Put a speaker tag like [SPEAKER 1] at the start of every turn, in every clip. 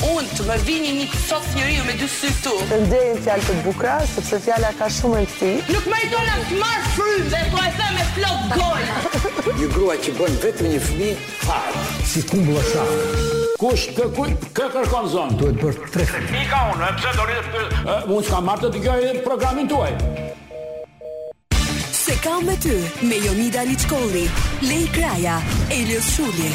[SPEAKER 1] mund të më vini një sot njeriu me dy sy këtu.
[SPEAKER 2] Të nderin fjalë të bukura, sepse fjala ka shumë rëndësi.
[SPEAKER 1] Nuk meriton as të marr frymë dhe po e them me plot gojë.
[SPEAKER 3] Një grua që bën vetëm një fëmijë fare.
[SPEAKER 4] si kumbulla shafë.
[SPEAKER 5] Kush kë kë kë kërkon zonë?
[SPEAKER 4] Duhet bërë tre
[SPEAKER 5] Mika unë, e pse do rritë për... Unë s'kam marrë të dëgjoj programin tuaj.
[SPEAKER 6] Se kam me ty me Jonida Liçkolli, Lej Kraja, Elios Shulli.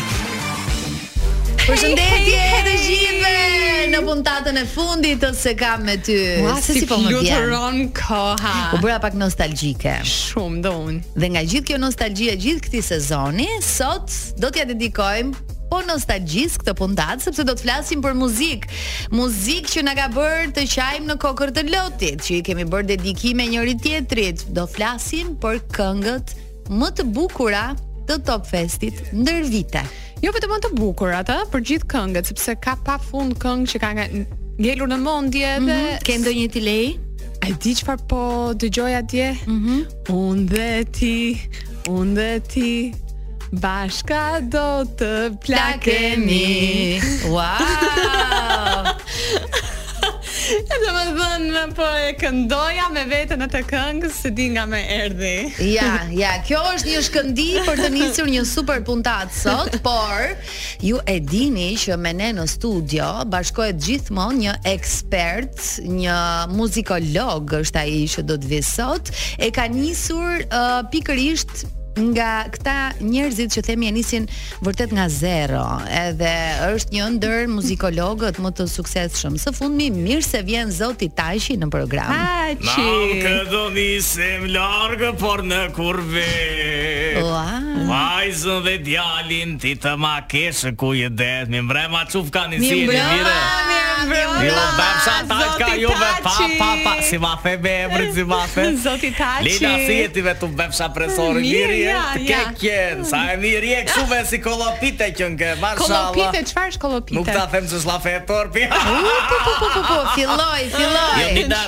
[SPEAKER 7] Përshëndetje të gjithëve në puntatën e fundit të se kam me ty.
[SPEAKER 8] Ua, se si po më
[SPEAKER 7] vjen.
[SPEAKER 8] fluturon
[SPEAKER 7] U
[SPEAKER 8] koha.
[SPEAKER 7] bëra pak nostalgjike.
[SPEAKER 8] Shumë do unë.
[SPEAKER 7] Dhe nga gjithë kjo nostalgji e gjithë këtij sezoni, sot do t'ja dedikojmë po nostalgjis këtë puntat sepse do të flasim për muzikë. Muzikë që na ka bërë të qajmë në kokër të lotit, që i kemi bërë dedikime njëri tjetrit. Do flasim për këngët më të bukura të Top Festit ndër vite.
[SPEAKER 8] Jo vetëm të bukur atë, për gjithë këngët, sepse ka pa fund këngë që ka nga ngelur në mendje dhe
[SPEAKER 9] Mhm,
[SPEAKER 7] Ke ndonjë ti lej?
[SPEAKER 8] A di çfarë po dëgjoj atje? Mhm. Unë dhe ti, unë dhe ti bashka do të plakemi.
[SPEAKER 7] Wow!
[SPEAKER 8] Edhe më dhënë po e këndoja me veten atë këngë se di nga më erdhi.
[SPEAKER 7] Ja, ja, kjo është një shkëndi për të nisur një super puntat sot, por ju e dini që me ne në studio bashkohet gjithmonë një ekspert, një muzikolog është ai që do të vi sot. E ka nisur uh, pikërisht nga këta njerëzit që themi e nisin vërtet nga zero, edhe është një ndër muzikologët më të suksesshëm. Së fundmi mirë se vjen Zoti Tashi në program.
[SPEAKER 8] Aqi.
[SPEAKER 9] do nisim largë por në kurve
[SPEAKER 7] Ua.
[SPEAKER 9] Vajzën dhe djalin ti të ma keshë ku i det Mi mbrema quf ka një si një mire Jo, bapsha ta ka juve pa, pa, pa Si ma fe me emrin, si ma fe
[SPEAKER 8] Zoti Taçi.
[SPEAKER 9] Lina, si jeti me të bepsha presori
[SPEAKER 8] Mirë,
[SPEAKER 9] Mirë,
[SPEAKER 8] ja,
[SPEAKER 9] të
[SPEAKER 8] ja.
[SPEAKER 9] kekjen Sa e mirë je këshu me si kolopite që nge Marshala
[SPEAKER 8] Kolopite, çfarë është kolopite?
[SPEAKER 9] Nuk ta them që shlafe e torpi
[SPEAKER 7] Po po po po po, filloj, filloj.
[SPEAKER 9] Jo, Nina,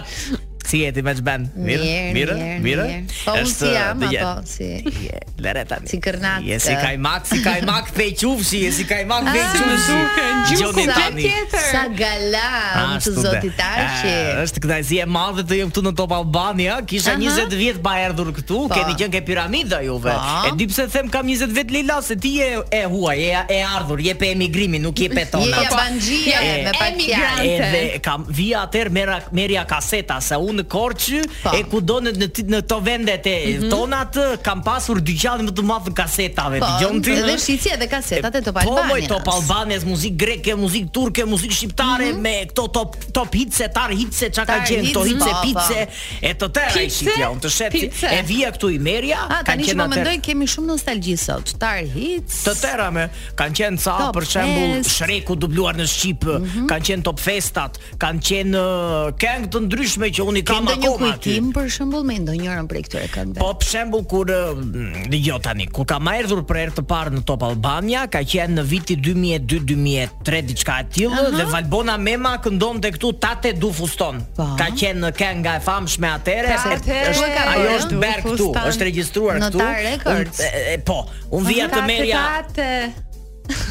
[SPEAKER 9] si jeti me qben? Mirë, mirë, mirë
[SPEAKER 7] Po unë
[SPEAKER 9] Është,
[SPEAKER 7] si jam
[SPEAKER 9] dhe je-
[SPEAKER 7] apo si.
[SPEAKER 9] Je, Lere tani.
[SPEAKER 7] Si kërnat,
[SPEAKER 9] Je si
[SPEAKER 7] eh.
[SPEAKER 9] kajmak, si kajmak pej qufshi, je si kajmak pej
[SPEAKER 7] Ah,
[SPEAKER 9] qufshi. Gjoni
[SPEAKER 7] Sa-
[SPEAKER 9] tani.
[SPEAKER 7] Sa galam të
[SPEAKER 9] Ashtu dhe.
[SPEAKER 7] zotit Arshi.
[SPEAKER 9] Eh, Është kënaqësi e madhe të jem këtu në Top Albania. Kisha 20 vjet pa erdhur këtu,
[SPEAKER 7] Po.
[SPEAKER 9] keni qenë ke piramida juve.
[SPEAKER 7] Po.
[SPEAKER 9] E di pse them kam 20 vjet Leila se ti je e huaj, je e ardhur, je pe emigrimin, nuk je pe
[SPEAKER 7] Je
[SPEAKER 9] tona.
[SPEAKER 7] jabanxhie
[SPEAKER 9] je
[SPEAKER 7] me pak fjalë.
[SPEAKER 8] emigrant.
[SPEAKER 9] Edhe kam vija atër mera merja kaseta se unë në Korçë
[SPEAKER 7] Po. Mhm.
[SPEAKER 9] e kudo në në, ti- në to vendet e tona të kam pasur dyqanin më të madh të kasetave.
[SPEAKER 7] Po,
[SPEAKER 9] Dëgjon ti?
[SPEAKER 7] edhe shici edhe kasetat e Top
[SPEAKER 9] Po moj
[SPEAKER 7] Albanias.
[SPEAKER 9] Top Albanias, muzikë greke, muzikë turke, muzikë shqiptare me këto top top hitse, tar hitse, çka ka
[SPEAKER 7] Mhm. Tar
[SPEAKER 9] gjen, këto
[SPEAKER 7] hits,
[SPEAKER 9] hitse,
[SPEAKER 7] po, po.
[SPEAKER 9] pice, e të tëra i
[SPEAKER 8] Pice,
[SPEAKER 9] shitja, unë të shet.
[SPEAKER 8] pice.
[SPEAKER 9] E vija këtu i merja,
[SPEAKER 7] A Ah, tani që
[SPEAKER 9] qenë
[SPEAKER 7] më
[SPEAKER 9] atëherë-
[SPEAKER 7] mendoj kemi shumë nostalgji sot. Star hits.
[SPEAKER 9] Të tëra me kanë qenë ca
[SPEAKER 7] Top
[SPEAKER 9] për shembull
[SPEAKER 7] Fest. Mhm.
[SPEAKER 9] Shreku dubluar në shqip, kanë qenë top festat, kanë qenë uh, këngë të ndryshme që unë i
[SPEAKER 7] Ke
[SPEAKER 9] kam
[SPEAKER 7] ndonjë
[SPEAKER 9] akoma aty.
[SPEAKER 7] kujtim për shembull me ndonjërin prej këtyre këngëve?
[SPEAKER 9] Po për shembull kur ë, dëgjoj jo tani, kur kam ardhur për herë të parë në Top Albania, ka qenë në viti 2002-2003 diçka e tillë dhe Valbona Mema këndonte këtu Tate du fuston.
[SPEAKER 7] Po.
[SPEAKER 9] Ka qenë në kënga e famshme atëherë.
[SPEAKER 8] Pra,
[SPEAKER 9] e-
[SPEAKER 8] atëherë
[SPEAKER 9] është-
[SPEAKER 7] ka
[SPEAKER 9] ajo
[SPEAKER 7] bërë,
[SPEAKER 9] është
[SPEAKER 8] Du
[SPEAKER 9] ber këtu,
[SPEAKER 8] Fustan.
[SPEAKER 9] është regjistruar
[SPEAKER 7] Në
[SPEAKER 9] këtu.
[SPEAKER 7] Tar Records.
[SPEAKER 9] Unë- e- e, Po, unë vija të merja.
[SPEAKER 8] Tate,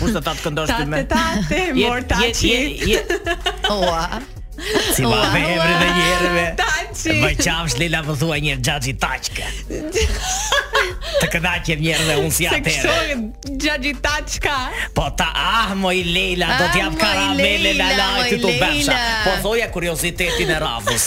[SPEAKER 9] Kush do ta të këndosh ti me?
[SPEAKER 8] tate, tate, mor taçi.
[SPEAKER 7] Ua.
[SPEAKER 9] Si ma
[SPEAKER 7] Ua,
[SPEAKER 9] me emri dhe njerëve
[SPEAKER 8] Taçi.
[SPEAKER 9] Më qafsh Lila më thua njerë gjaxhi taqka Të kënaqem njerëve unë si
[SPEAKER 8] Se kështu
[SPEAKER 9] atere
[SPEAKER 8] Gjaxhi Taçka.
[SPEAKER 9] Po ta ah moj Leila do
[SPEAKER 7] Ah,
[SPEAKER 9] t'jap
[SPEAKER 7] moj
[SPEAKER 9] karamele
[SPEAKER 7] Leila,
[SPEAKER 9] në lajtë
[SPEAKER 7] moj
[SPEAKER 9] të bësha
[SPEAKER 7] Leila.
[SPEAKER 9] Po thoja kuriozitetin e radhës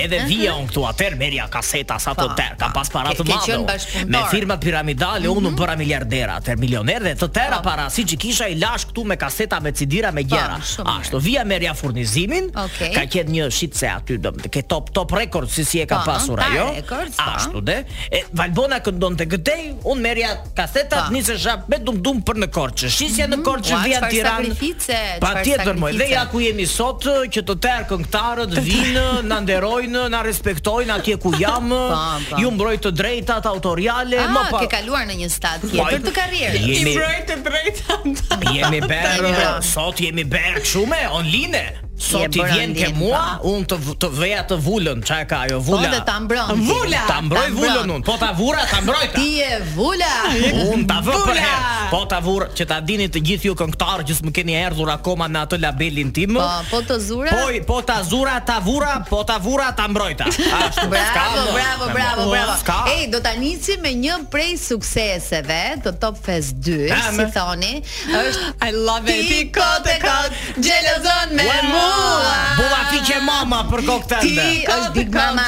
[SPEAKER 9] Edhe vija unë këtu atër merja kaseta sa të
[SPEAKER 7] Pa,
[SPEAKER 9] tërë Ka pas para
[SPEAKER 7] Po. Ke-
[SPEAKER 9] të
[SPEAKER 7] ke
[SPEAKER 9] madhe
[SPEAKER 7] qenë
[SPEAKER 9] unë.
[SPEAKER 7] bashkëpunëtor. Mhm.
[SPEAKER 9] Me firmat piramidale unë u bëra miliardera Atër milioner dhe të
[SPEAKER 7] Po.
[SPEAKER 9] tëra para si që kisha i lash këtu me kaseta me cidira me gjera
[SPEAKER 7] shumë mirë.
[SPEAKER 9] Ashtu vija merja furnizimin
[SPEAKER 7] Okej.
[SPEAKER 9] Ka qenë një shitse aty do Ke top top rekord si si e ka
[SPEAKER 7] Pa,
[SPEAKER 9] pasur
[SPEAKER 7] pa,
[SPEAKER 9] ajo
[SPEAKER 7] records, pa.
[SPEAKER 9] Ashtu dhe E, Valbona këndonte këtej Unë merja
[SPEAKER 7] Pa.
[SPEAKER 9] kasetat
[SPEAKER 7] Po.
[SPEAKER 9] nisesha me dum dum për në Korçë Shisja në Korçë që
[SPEAKER 7] Ua,
[SPEAKER 9] vjen
[SPEAKER 7] Mhm. Po, çfarë
[SPEAKER 9] Tiranë.
[SPEAKER 7] sakrifice, çfarë
[SPEAKER 9] Patjetër moj. Dhe
[SPEAKER 7] sakrifice.
[SPEAKER 9] ja ku jemi sot që të tërë këngëtarët vinë, na nderojnë, na respektojnë atje ku jam.
[SPEAKER 7] Pa, pa.
[SPEAKER 9] Ju mbroj të drejtat autoriale,
[SPEAKER 7] Po, Ah,
[SPEAKER 9] më pa.
[SPEAKER 7] ke kaluar në një stad
[SPEAKER 9] Po,
[SPEAKER 7] tjetër të karrierës.
[SPEAKER 8] I
[SPEAKER 9] Jemi
[SPEAKER 8] broj të drejta.
[SPEAKER 9] jemi ber,
[SPEAKER 7] Tani pra.
[SPEAKER 9] sot jemi ber kështu me online. Sot i
[SPEAKER 7] bërë
[SPEAKER 9] vjen ke
[SPEAKER 7] ndjen,
[SPEAKER 9] mua, unë të v- të veja të vulën, çka e ka ajo vula.
[SPEAKER 7] Po dhe ta mbron.
[SPEAKER 9] Vula. Ta mbroj
[SPEAKER 7] Ta mbron.
[SPEAKER 9] vulën unë. Po ta vura, ta mbroj ta.
[SPEAKER 7] Ti je vula.
[SPEAKER 9] Unë ta vë për
[SPEAKER 8] Vula.
[SPEAKER 9] herë. Po ta vurë që ta dini të gjithë ju këngëtarë që s'më keni erdhur akoma në atë labelin tim.
[SPEAKER 7] Po, po të zura.
[SPEAKER 9] Po, po ta zura, ta vura, po ta vura, ta mbrojta. Ashtu. s'ka
[SPEAKER 7] Bravo,
[SPEAKER 9] më.
[SPEAKER 7] bravo, bravo, bravo.
[SPEAKER 9] S'ka.
[SPEAKER 7] Ej, do ta nisim me një prej sukseseve të Top Fest 2,
[SPEAKER 9] Ah,
[SPEAKER 7] si
[SPEAKER 9] me-
[SPEAKER 7] thoni, është
[SPEAKER 8] I love it.
[SPEAKER 7] Ti kot e kot, gjelozon me mua.
[SPEAKER 9] Bova ti që mama për kokë të ndë
[SPEAKER 7] Ti është big mama.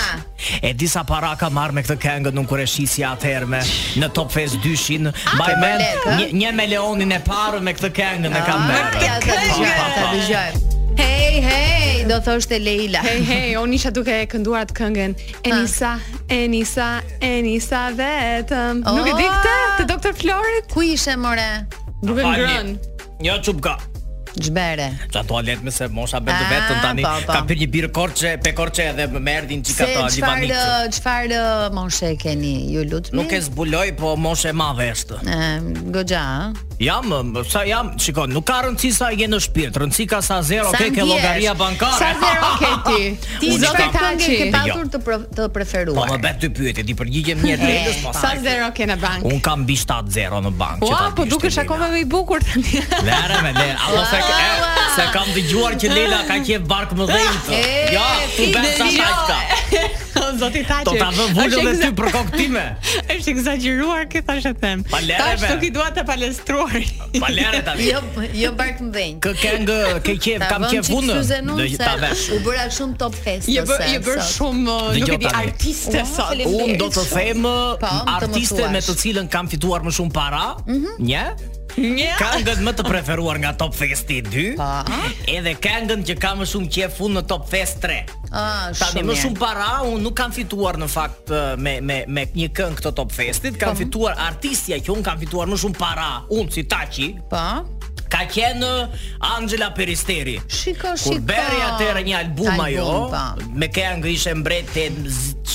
[SPEAKER 9] E disa para ka marrë me këtë këngë Nuk kur e shisja atëherë me Në Top Fest 2-shin Baj
[SPEAKER 7] po,
[SPEAKER 9] men
[SPEAKER 7] lek, a?
[SPEAKER 9] një, një me Leonin e parë me këtë këngë Në kam
[SPEAKER 7] Ah,
[SPEAKER 9] bërë
[SPEAKER 7] Ja, ta dëgjoj, ta dëgjoj. Hej, hej, do thoshte Leila.
[SPEAKER 8] Hej, hej, unë isha duke e kënduar atë këngën Enisa, Enisa, Enisa vetëm Nuk e di këtë, të doktor Florit
[SPEAKER 7] Ku ishe more?
[SPEAKER 8] Duke ngrën
[SPEAKER 9] Një çupka
[SPEAKER 7] Zhbere.
[SPEAKER 9] Qa to let me se mosha bëtë
[SPEAKER 7] Ah,
[SPEAKER 9] vetën tani
[SPEAKER 7] po, po.
[SPEAKER 9] Ka pirë një birë korqe Pe korqe edhe më erdhin
[SPEAKER 7] Se
[SPEAKER 9] qika ta
[SPEAKER 7] çfarë
[SPEAKER 9] libanik
[SPEAKER 7] çfarë moshe keni ju lutmi?
[SPEAKER 9] Nuk e zbuloj po moshe madhe është
[SPEAKER 7] Goxha, ha?
[SPEAKER 9] Jam, më, sa jam, shikon, nuk ka rëndësi sa je në shtëpi, rëndësi ka sa zero
[SPEAKER 7] Sa
[SPEAKER 9] ke ke
[SPEAKER 7] ndjesh?
[SPEAKER 9] llogaria bankare.
[SPEAKER 8] Sa zero ke ti?
[SPEAKER 7] Ti
[SPEAKER 9] Unë
[SPEAKER 7] çfarë
[SPEAKER 9] kam-
[SPEAKER 7] këngë ke
[SPEAKER 8] Jo.
[SPEAKER 7] pasur të pro- të
[SPEAKER 9] Po
[SPEAKER 7] preferuar?
[SPEAKER 9] më bëj dy pyetje, ti përgjigjem një drejtës pas.
[SPEAKER 8] Sa zero ke në bank?
[SPEAKER 9] Un kam mbi 7 zero në bank. që
[SPEAKER 8] Ua,
[SPEAKER 9] ta
[SPEAKER 8] po
[SPEAKER 9] dish
[SPEAKER 8] dukesh
[SPEAKER 9] ti,
[SPEAKER 8] akoma
[SPEAKER 9] Leila.
[SPEAKER 8] më i bukur tani
[SPEAKER 9] Lere me lere, apo se, e, se kam dëgjuar që Leila ka qef bark më dhënë.
[SPEAKER 7] E,
[SPEAKER 9] Jo, tu
[SPEAKER 7] ti
[SPEAKER 9] bën sa
[SPEAKER 7] dëgjoj.
[SPEAKER 9] tajka.
[SPEAKER 8] Zoti Taqi
[SPEAKER 9] Do ta vë vullën dhe ty
[SPEAKER 8] egza-
[SPEAKER 9] për kokë time.
[SPEAKER 8] është egzageruar këtë thash e them
[SPEAKER 9] Pa lere,
[SPEAKER 8] Tash
[SPEAKER 9] be.
[SPEAKER 8] nuk i dua të palestruar
[SPEAKER 9] Pa lere tani.
[SPEAKER 7] Jo, jo bark më dhënë.
[SPEAKER 9] Kë këngë, ke qef, kam qef unë. Do ta vesh.
[SPEAKER 7] U bëra shumë top fest
[SPEAKER 8] Je bër,
[SPEAKER 7] ose,
[SPEAKER 8] je bër
[SPEAKER 7] sot.
[SPEAKER 8] shumë,
[SPEAKER 9] Dëgjoj
[SPEAKER 8] nuk e di,
[SPEAKER 9] tani.
[SPEAKER 8] artiste sot
[SPEAKER 9] Unë do të them
[SPEAKER 7] Po, më Mhm. të
[SPEAKER 9] artiste
[SPEAKER 7] mësuash.
[SPEAKER 9] me të cilën kam fituar më shumë para, një,
[SPEAKER 8] Një
[SPEAKER 9] këngën më të preferuar nga Top Festi 2,
[SPEAKER 7] Pa.
[SPEAKER 9] edhe këngën që kam më shumë qef unë në Top Fest 3.
[SPEAKER 7] Ah,
[SPEAKER 9] Tani
[SPEAKER 7] shumë
[SPEAKER 9] më
[SPEAKER 7] mirë.
[SPEAKER 9] shumë para unë nuk kam fituar në fakt eh, me me me një këngë këto Top Festit,
[SPEAKER 7] Po.
[SPEAKER 9] kam fituar artistja që unë kam fituar më shumë para, unë si Taçi,
[SPEAKER 7] Po.
[SPEAKER 9] ka qenë Angela Peristeri.
[SPEAKER 7] Shiko, shiko.
[SPEAKER 9] Kur beri atëherë një album, ajo,
[SPEAKER 7] po.
[SPEAKER 9] me këngë ishte mbret te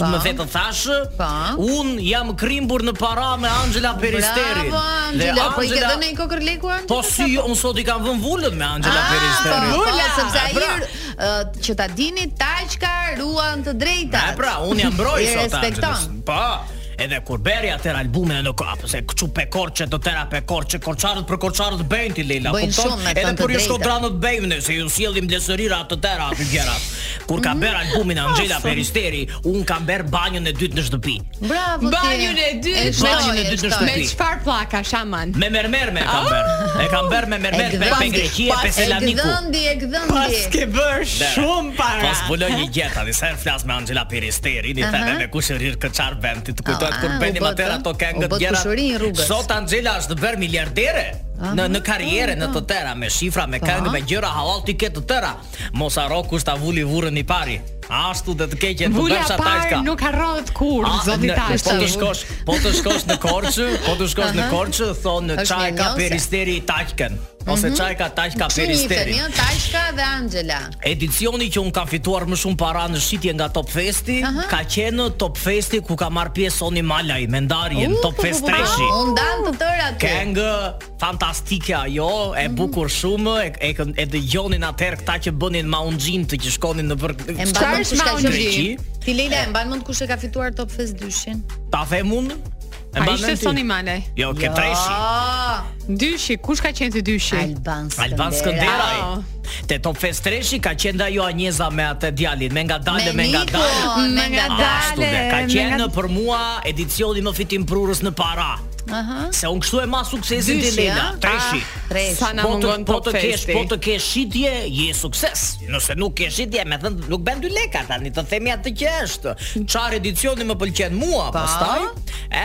[SPEAKER 7] Pa.
[SPEAKER 9] më the të thash,
[SPEAKER 7] Pa.
[SPEAKER 9] un jam krimbur në para me Angela Peristeri.
[SPEAKER 7] Bravo, Angela, po i ke
[SPEAKER 9] Angela-
[SPEAKER 7] dhënë një kokër leku Angela?
[SPEAKER 9] Po si un sot i kam vënë vullën me Angela
[SPEAKER 7] Ah,
[SPEAKER 9] Peristeri.
[SPEAKER 7] po, po,
[SPEAKER 8] Ula,
[SPEAKER 7] sepse ai
[SPEAKER 9] pra.
[SPEAKER 7] ë, që ta dini taqka ruan të
[SPEAKER 9] E
[SPEAKER 7] drejtat.
[SPEAKER 9] pra, un jam mbroj
[SPEAKER 7] I
[SPEAKER 9] sot
[SPEAKER 7] respekton.
[SPEAKER 9] Angelës. Po. Edhe kur beri atër albumin e në ko, apo po se këtu pe korçe, do tëra pe korçe, korçarët për korçarët bëjnë ti Leila,
[SPEAKER 7] Bëjnë
[SPEAKER 9] kupton?
[SPEAKER 7] shumë me
[SPEAKER 9] Edhe
[SPEAKER 7] thënë të
[SPEAKER 9] kur ju
[SPEAKER 7] drejtën.
[SPEAKER 9] shkodranët bëjmë ne, se ju sjellim lesërira atë tëra aty gjëra. Kur
[SPEAKER 7] Mhm.
[SPEAKER 9] ka ber albumin Angela Peristeri, un kam ber banjën e dytë në shtëpi.
[SPEAKER 7] Bravo ti.
[SPEAKER 8] Banjën e dytë,
[SPEAKER 7] shtoj,
[SPEAKER 9] banjën e dytë në
[SPEAKER 7] shtoj.
[SPEAKER 8] Me
[SPEAKER 9] shtëpi.
[SPEAKER 8] çfarë plaka shaman?
[SPEAKER 9] Me mermer me
[SPEAKER 7] Ah!
[SPEAKER 9] kam ber. E kam ber me
[SPEAKER 7] E
[SPEAKER 9] mermer pe
[SPEAKER 7] gdhëndi,
[SPEAKER 9] pe Greqi e
[SPEAKER 7] pas-
[SPEAKER 9] pe Selamiku.
[SPEAKER 7] E gdhëndi, e
[SPEAKER 8] Pas
[SPEAKER 7] gdhëndi.
[SPEAKER 8] ke bërë
[SPEAKER 9] Lere.
[SPEAKER 8] shumë para.
[SPEAKER 9] Pas buloj një gjetë, tani sa herë flas me Angela Peristeri, i them me kush e rir këçar vend, ti të kujtohet
[SPEAKER 7] Ah,
[SPEAKER 9] kur
[SPEAKER 7] u
[SPEAKER 9] bënim
[SPEAKER 7] bë
[SPEAKER 9] atëherë
[SPEAKER 7] të-
[SPEAKER 9] ato
[SPEAKER 7] u
[SPEAKER 9] këngët
[SPEAKER 7] bë
[SPEAKER 9] gjëra.
[SPEAKER 7] kushëri në rrugës.
[SPEAKER 9] Sot Angela është bërë miliardere në në karrierë në të tëra me shifra, me këngë, me gjëra halal ti ke të tëra. Mos haro kush ta vuli vurrën i pari. Ashtu dhe të keqen të
[SPEAKER 8] Vula
[SPEAKER 9] bësh
[SPEAKER 8] parë
[SPEAKER 9] atajka.
[SPEAKER 8] nuk harrohet kur,
[SPEAKER 9] po, A,
[SPEAKER 8] zoti
[SPEAKER 9] në-
[SPEAKER 8] Taqi.
[SPEAKER 9] Po të shkosh, po të shkosh në Korçë, po të shkosh në Korçë, thonë
[SPEAKER 7] Është
[SPEAKER 9] çaj ka
[SPEAKER 7] mirënjohëse.
[SPEAKER 9] peristeri i Taqken, ose çaj ka Taq ka
[SPEAKER 7] Kështu njifën,
[SPEAKER 9] peristeri.
[SPEAKER 7] jo, Taqka dhe Angela.
[SPEAKER 9] Edicioni që un kam fituar më shumë para në shitje nga Top Festi, ka qenë Top Festi ku ka marr pjesë Soni Malaj me ndarjen Top Fest Treshi.
[SPEAKER 7] Unë dan të tëra ty.
[SPEAKER 9] Këngë fantastike ajo, e bukur shumë, e, e, kën- e dëgjonin atëherë këta që bënin maunxhin të që shkonin në për
[SPEAKER 7] E mban mend
[SPEAKER 8] është
[SPEAKER 7] kush ka
[SPEAKER 8] Mount
[SPEAKER 7] qenë
[SPEAKER 9] Greqi?
[SPEAKER 7] Ti Leila e mban mend kush e ka fituar Top Fest 2-shin?
[SPEAKER 9] ta them unë? E
[SPEAKER 8] A
[SPEAKER 9] mban
[SPEAKER 8] ishte
[SPEAKER 9] mend ti?
[SPEAKER 8] Soni Malaj?
[SPEAKER 9] Jo, ke Treshi.
[SPEAKER 7] Ah,
[SPEAKER 8] Dyshi, kush ka qenë ti dyshi?
[SPEAKER 7] Alban Skëndera.
[SPEAKER 9] Alban Skënderaj.
[SPEAKER 8] Au.
[SPEAKER 9] Te Top Fest Treshi ka qenë ajo Anjeza me atë djalin, me nga dalë, me nga
[SPEAKER 7] Niko,
[SPEAKER 9] dalë.
[SPEAKER 7] Me nga dalë.
[SPEAKER 9] Ashtu dhe ka
[SPEAKER 8] me
[SPEAKER 9] qenë
[SPEAKER 8] nga-
[SPEAKER 9] për mua edicioni më fitim prurës në para.
[SPEAKER 7] Aha.
[SPEAKER 9] Se unë kështu e ma suksesin ti
[SPEAKER 7] Dyshi,
[SPEAKER 9] Leila,
[SPEAKER 7] a? Ah.
[SPEAKER 9] treshi.
[SPEAKER 7] Tresh.
[SPEAKER 8] Sa na
[SPEAKER 9] Po të,
[SPEAKER 8] mungon
[SPEAKER 9] po
[SPEAKER 8] Top
[SPEAKER 9] të kesh,
[SPEAKER 8] Festi.
[SPEAKER 9] po të kesh shitje, je sukses. Nëse nuk ke shitje, me thënë nuk bën dy leka tani, të themi atë që është. Çfarë edicioni më pëlqen mua, pastaj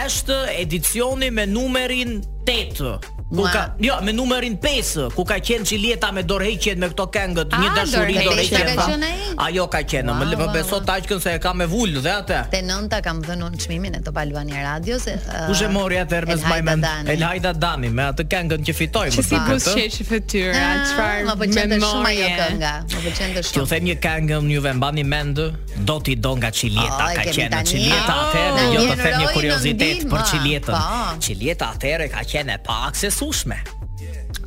[SPEAKER 9] është edicioni me numerin 8. Ku
[SPEAKER 7] Mua.
[SPEAKER 9] ka, jo, me numerin 5, ku ka qenë Çilieta me dorëheqjen me këto këngët, një
[SPEAKER 8] A,
[SPEAKER 9] dashuri
[SPEAKER 8] dorëheqja
[SPEAKER 9] dorëheqje.
[SPEAKER 7] ka
[SPEAKER 9] pa.
[SPEAKER 7] qenë ai?
[SPEAKER 9] Ajo ka qenë, më
[SPEAKER 7] Wow,
[SPEAKER 9] më
[SPEAKER 7] wow,
[SPEAKER 9] beso
[SPEAKER 7] wow.
[SPEAKER 9] taqkën se e ka me vul dhe atë.
[SPEAKER 7] Te nënta kam dhënë unë çmimin e Top Albania Radios. Uh,
[SPEAKER 9] Kush e mori atë Hermes Bajmen? El Hajda Dani me atë këngën që fitoi
[SPEAKER 8] Që
[SPEAKER 9] më
[SPEAKER 8] si
[SPEAKER 9] pak
[SPEAKER 8] buz
[SPEAKER 9] atë.
[SPEAKER 8] qeshi fytyra,
[SPEAKER 7] Ah,
[SPEAKER 8] çfarë
[SPEAKER 7] Më pëlqente po shumë ajo
[SPEAKER 8] memorie.
[SPEAKER 7] kënga. Më pëlqente
[SPEAKER 9] Ju
[SPEAKER 7] shumë.
[SPEAKER 9] them një këngë unë juve mbani mend, do t'i do nga Çilieta,
[SPEAKER 7] Oh, e
[SPEAKER 9] ka
[SPEAKER 7] kemi
[SPEAKER 9] qenë në
[SPEAKER 7] tani.
[SPEAKER 9] Çilieta
[SPEAKER 7] Oh,
[SPEAKER 9] atëherë, jo
[SPEAKER 7] një
[SPEAKER 9] të them një
[SPEAKER 7] heroi në
[SPEAKER 9] kuriozitet
[SPEAKER 7] ndihmë,
[SPEAKER 9] për
[SPEAKER 7] a,
[SPEAKER 9] Çilietën.
[SPEAKER 7] po.
[SPEAKER 9] Çilieta atëherë ka qenë e pa aksesueshme.